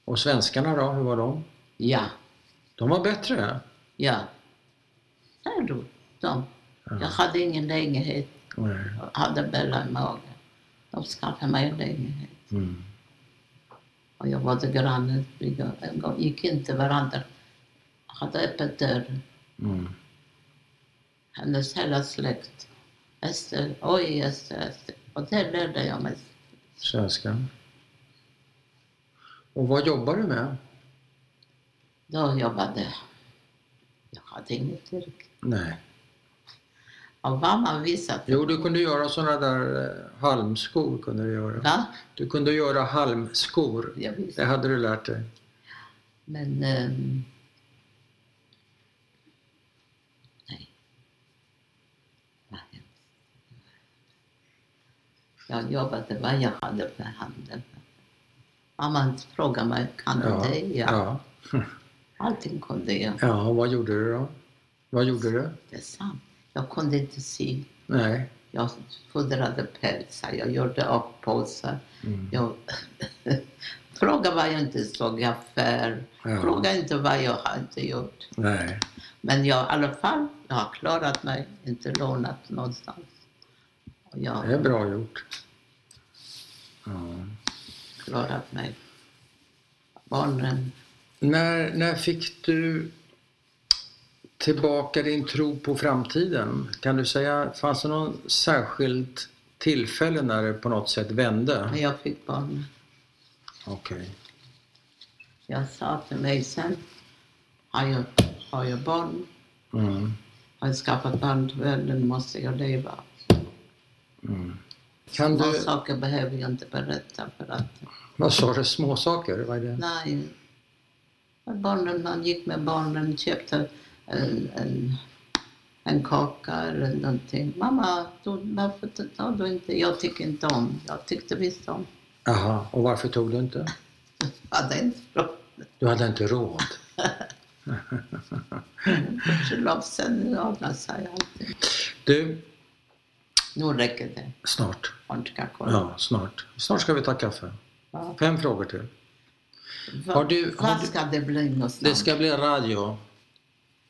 Speaker 2: Och svenskarna då, hur var de?
Speaker 1: ja,
Speaker 2: De var bättre?
Speaker 1: ja. Där du, de. Jag hade ingen lägenhet.
Speaker 2: Nej.
Speaker 1: Jag hade Bella i magen. De skaffade mig en lägenhet.
Speaker 2: Mm.
Speaker 1: Och jag var till grannen. En gång gick in till varandra. Hade öppet dörr.
Speaker 2: Mm.
Speaker 1: hennes hela släkt. Ester, oj Ester, Ester. Och det lärde jag mig.
Speaker 2: Svenskan. Och vad jobbar du med?
Speaker 1: Då jobbade jag. hade inget yrke.
Speaker 2: Nej.
Speaker 1: Och vad man visat.
Speaker 2: Jo, du kunde göra sådana där eh, halmskor. Kunde du, göra.
Speaker 1: Va?
Speaker 2: du kunde göra halmskor.
Speaker 1: Jag
Speaker 2: Det
Speaker 1: visste.
Speaker 2: hade du lärt dig.
Speaker 1: Men... ehm, nej. Nej. Jag jobbade vad jag hade för handen. Mamma frågade mig, kan du det? Ja.
Speaker 2: ja.
Speaker 1: Allting kunde jag.
Speaker 2: Ja, och vad gjorde du då? Vad gjorde du?
Speaker 1: Det är sant. Jag kunde inte sy.
Speaker 2: Nej.
Speaker 1: Jag fodrade pälsar, jag gjorde upp påsar.
Speaker 2: Mm.
Speaker 1: Jag... Fråga vad jag inte såg i affär.
Speaker 2: Ja.
Speaker 1: Fråga inte vad jag har inte gjort.
Speaker 2: Nej.
Speaker 1: Men jag i alla fall, jag har klarat mig. Inte lånat någonstans. Och jag
Speaker 2: Det är
Speaker 1: har
Speaker 2: bra gjort. Ja.
Speaker 1: klarat mig. Barnen,
Speaker 2: När, när fick du tillbaka din tro på framtiden? Kan du säga, fanns det någon särskilt tillfälle när det på något sätt vände?
Speaker 1: när jag fick barnen.
Speaker 2: Okej.
Speaker 1: Jag sa till mig sen, har jag, har jag barn,
Speaker 2: Mm.
Speaker 1: har jag skaffat barn till världen måste jag leva.
Speaker 2: Kan
Speaker 1: Några
Speaker 2: du,
Speaker 1: saker behöver jag inte berätta för att
Speaker 2: vad sa du, småsaker? Vad är det?
Speaker 1: Nej. Barnen, man gick med barnen, köpte en, en, en kaka eller någonting. Mamma, då, varför tar du inte? Jag tycker inte om. Jag tyckte visst om.
Speaker 2: Aha, och varför tog du inte?
Speaker 1: Jag hade inte råd.
Speaker 2: Du hade inte råd.
Speaker 1: Gudskelov, sen ordnade sig allting.
Speaker 2: Du,
Speaker 1: Nu räcker det.
Speaker 2: snart.
Speaker 1: Hon ska kolla.
Speaker 2: Ja, snart. Snart ska vi ta kaffe.
Speaker 1: Ja.
Speaker 2: Fem frågor till.
Speaker 1: Va,
Speaker 2: Har du- har
Speaker 1: vad
Speaker 2: du-
Speaker 1: ska det bli någonstans?
Speaker 2: Det ska bli radio.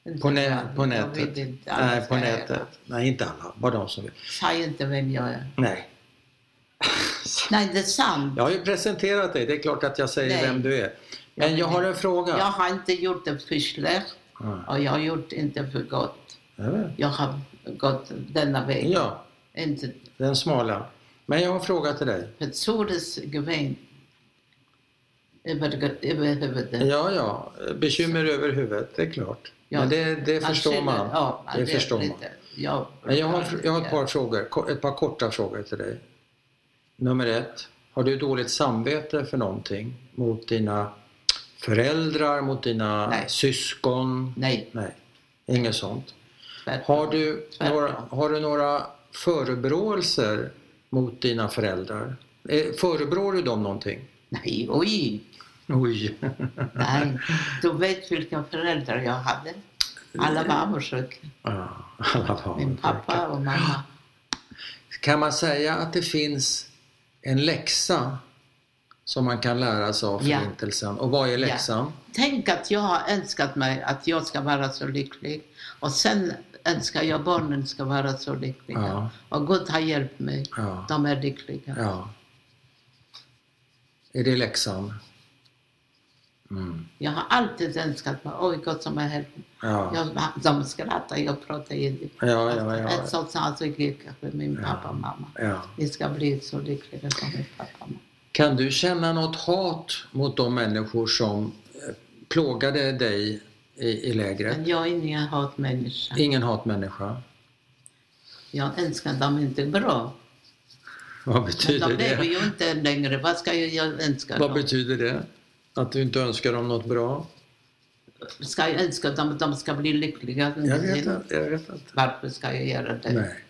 Speaker 1: Inte
Speaker 2: På,
Speaker 1: vad-
Speaker 2: nä- på
Speaker 1: jag
Speaker 2: nätet.
Speaker 1: vet inte. Alla
Speaker 2: Nej, på
Speaker 1: ska göra.
Speaker 2: nätet. Nej, inte alla. Bara de som vill.
Speaker 1: Säg inte vem jag är.
Speaker 2: Nej.
Speaker 1: Nej, det är sant.
Speaker 2: Jag har ju presenterat dig. Det är klart att jag säger
Speaker 1: Nej.
Speaker 2: vem du är. Men jag har en fråga.
Speaker 1: Jag har inte gjort det för schlecht
Speaker 2: Ja.
Speaker 1: och jag har gjort inte för gott.
Speaker 2: Jag vet.
Speaker 1: Jag har gått denna väg.
Speaker 2: Ja,
Speaker 1: Inte,
Speaker 2: den smala. Men jag har en fråga till dig.
Speaker 1: Mit Todesgewinn über, über Hüvede.
Speaker 2: Ja, ja, bekymmer över huvudet, det är klart.
Speaker 1: Ja.
Speaker 2: Men det, det förstår
Speaker 1: skyller-
Speaker 2: man.
Speaker 1: Ja,
Speaker 2: Det förstår man.
Speaker 1: lite- Ja,
Speaker 2: Men jag, har, jag har ett par frågor, ko- ett par korta frågor till dig. Nummer ett, har du dåligt samvete för någonting? Mot dina föräldrar, mot dina
Speaker 1: Nej.
Speaker 2: syskon?
Speaker 1: Nej,
Speaker 2: Nej, inget sånt.
Speaker 1: tvärtom.
Speaker 2: Har du,
Speaker 1: Tvärtom.
Speaker 2: några, har du några förebråelser mot dina föräldrar? Eh, Förebrår du dem någonting?
Speaker 1: Nej, oj!
Speaker 2: Oj.
Speaker 1: Nej. Du vet vilka föräldrar jag hade. Alla var avundsjuka.
Speaker 2: Ja, alla barn.
Speaker 1: Min pappa och mamma.
Speaker 2: Kan man säga att det finns en läxa som man kan lära sig av
Speaker 1: Ja.
Speaker 2: Förintelsen? Och vad är läxan?
Speaker 1: Tänk att jag har önskat mig att jag ska vara så lycklig. Och sen önskar jag barnen ska vara så lyckliga.
Speaker 2: Ja.
Speaker 1: Och Gud har hjälpt mig.
Speaker 2: Ja.
Speaker 1: De är lyckliga.
Speaker 2: ja. Är det läxan? Mm.
Speaker 1: Jag har alltid önskat mig, oj Gud som har hjälpt mig.
Speaker 2: Ja.
Speaker 1: Jag, de skrattar, jag pratar indiska.
Speaker 2: Ja, ja, ja, ja.
Speaker 1: Ett sånt som alltså gick med min pappa och mamma.
Speaker 2: ja.
Speaker 1: Ni ska bli så lyckliga som min pappa och mamma.
Speaker 2: Kan du känna något hat mot de människor som eh, plågade dig i, i lägret?
Speaker 1: Men jag är ingen hatmänniska.
Speaker 2: Ingen hatmänniska?
Speaker 1: Jag önskar dem inte bra.
Speaker 2: Vad
Speaker 1: Men de
Speaker 2: betyder
Speaker 1: lever
Speaker 2: det?
Speaker 1: ju inte längre. Vad ska jag- jag önska
Speaker 2: Vad
Speaker 1: dem?
Speaker 2: betyder det? Att du inte önskar dem något bra?
Speaker 1: Ska jag önska dem att de ska bli lyckliga?
Speaker 2: Jag vet inte. Jag vet inte.
Speaker 1: Varför ska jag göra det?
Speaker 2: Nej.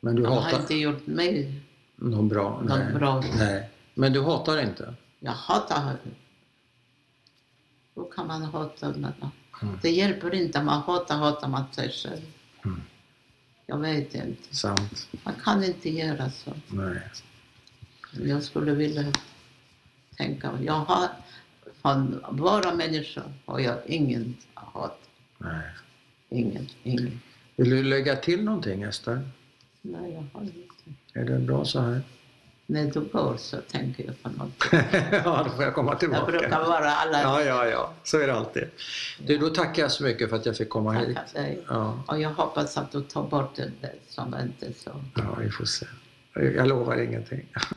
Speaker 2: Men du
Speaker 1: de har
Speaker 2: hatar
Speaker 1: inte gjort mig.
Speaker 2: någon bra?
Speaker 1: Någon
Speaker 2: Nej.
Speaker 1: bra.
Speaker 2: Nej. Men du hatar inte?
Speaker 1: Jag hatar honom. Då kan man hata honom.
Speaker 2: Mm.
Speaker 1: Det hjälper inte. Man hatar, hatar man sig själv.
Speaker 2: Mm.
Speaker 1: Jag vet inte.
Speaker 2: Sant.
Speaker 1: Man kan inte göra så.
Speaker 2: Nej.
Speaker 1: Jag skulle vilja tänka, jag har från våra människor har jag ingen hat.
Speaker 2: Nej.
Speaker 1: Ingen, ingen.
Speaker 2: Vill du lägga till någonting Ester?
Speaker 1: Nej, jag har inte.
Speaker 2: Är det bra så här?
Speaker 1: När du går så tänker jag på något.
Speaker 2: ja, då får jag komma
Speaker 1: Jag brukar
Speaker 2: tillbaka.
Speaker 1: vara alla...
Speaker 2: Ja, ja, ja. Så är det alltid. Du, då tackar jag så mycket för att jag fick komma hit.
Speaker 1: Tackar dig.
Speaker 2: Ja,
Speaker 1: Och jag hoppas att du tar bort det där som inte är så.
Speaker 2: ja vi får se. Jag lovar ingenting.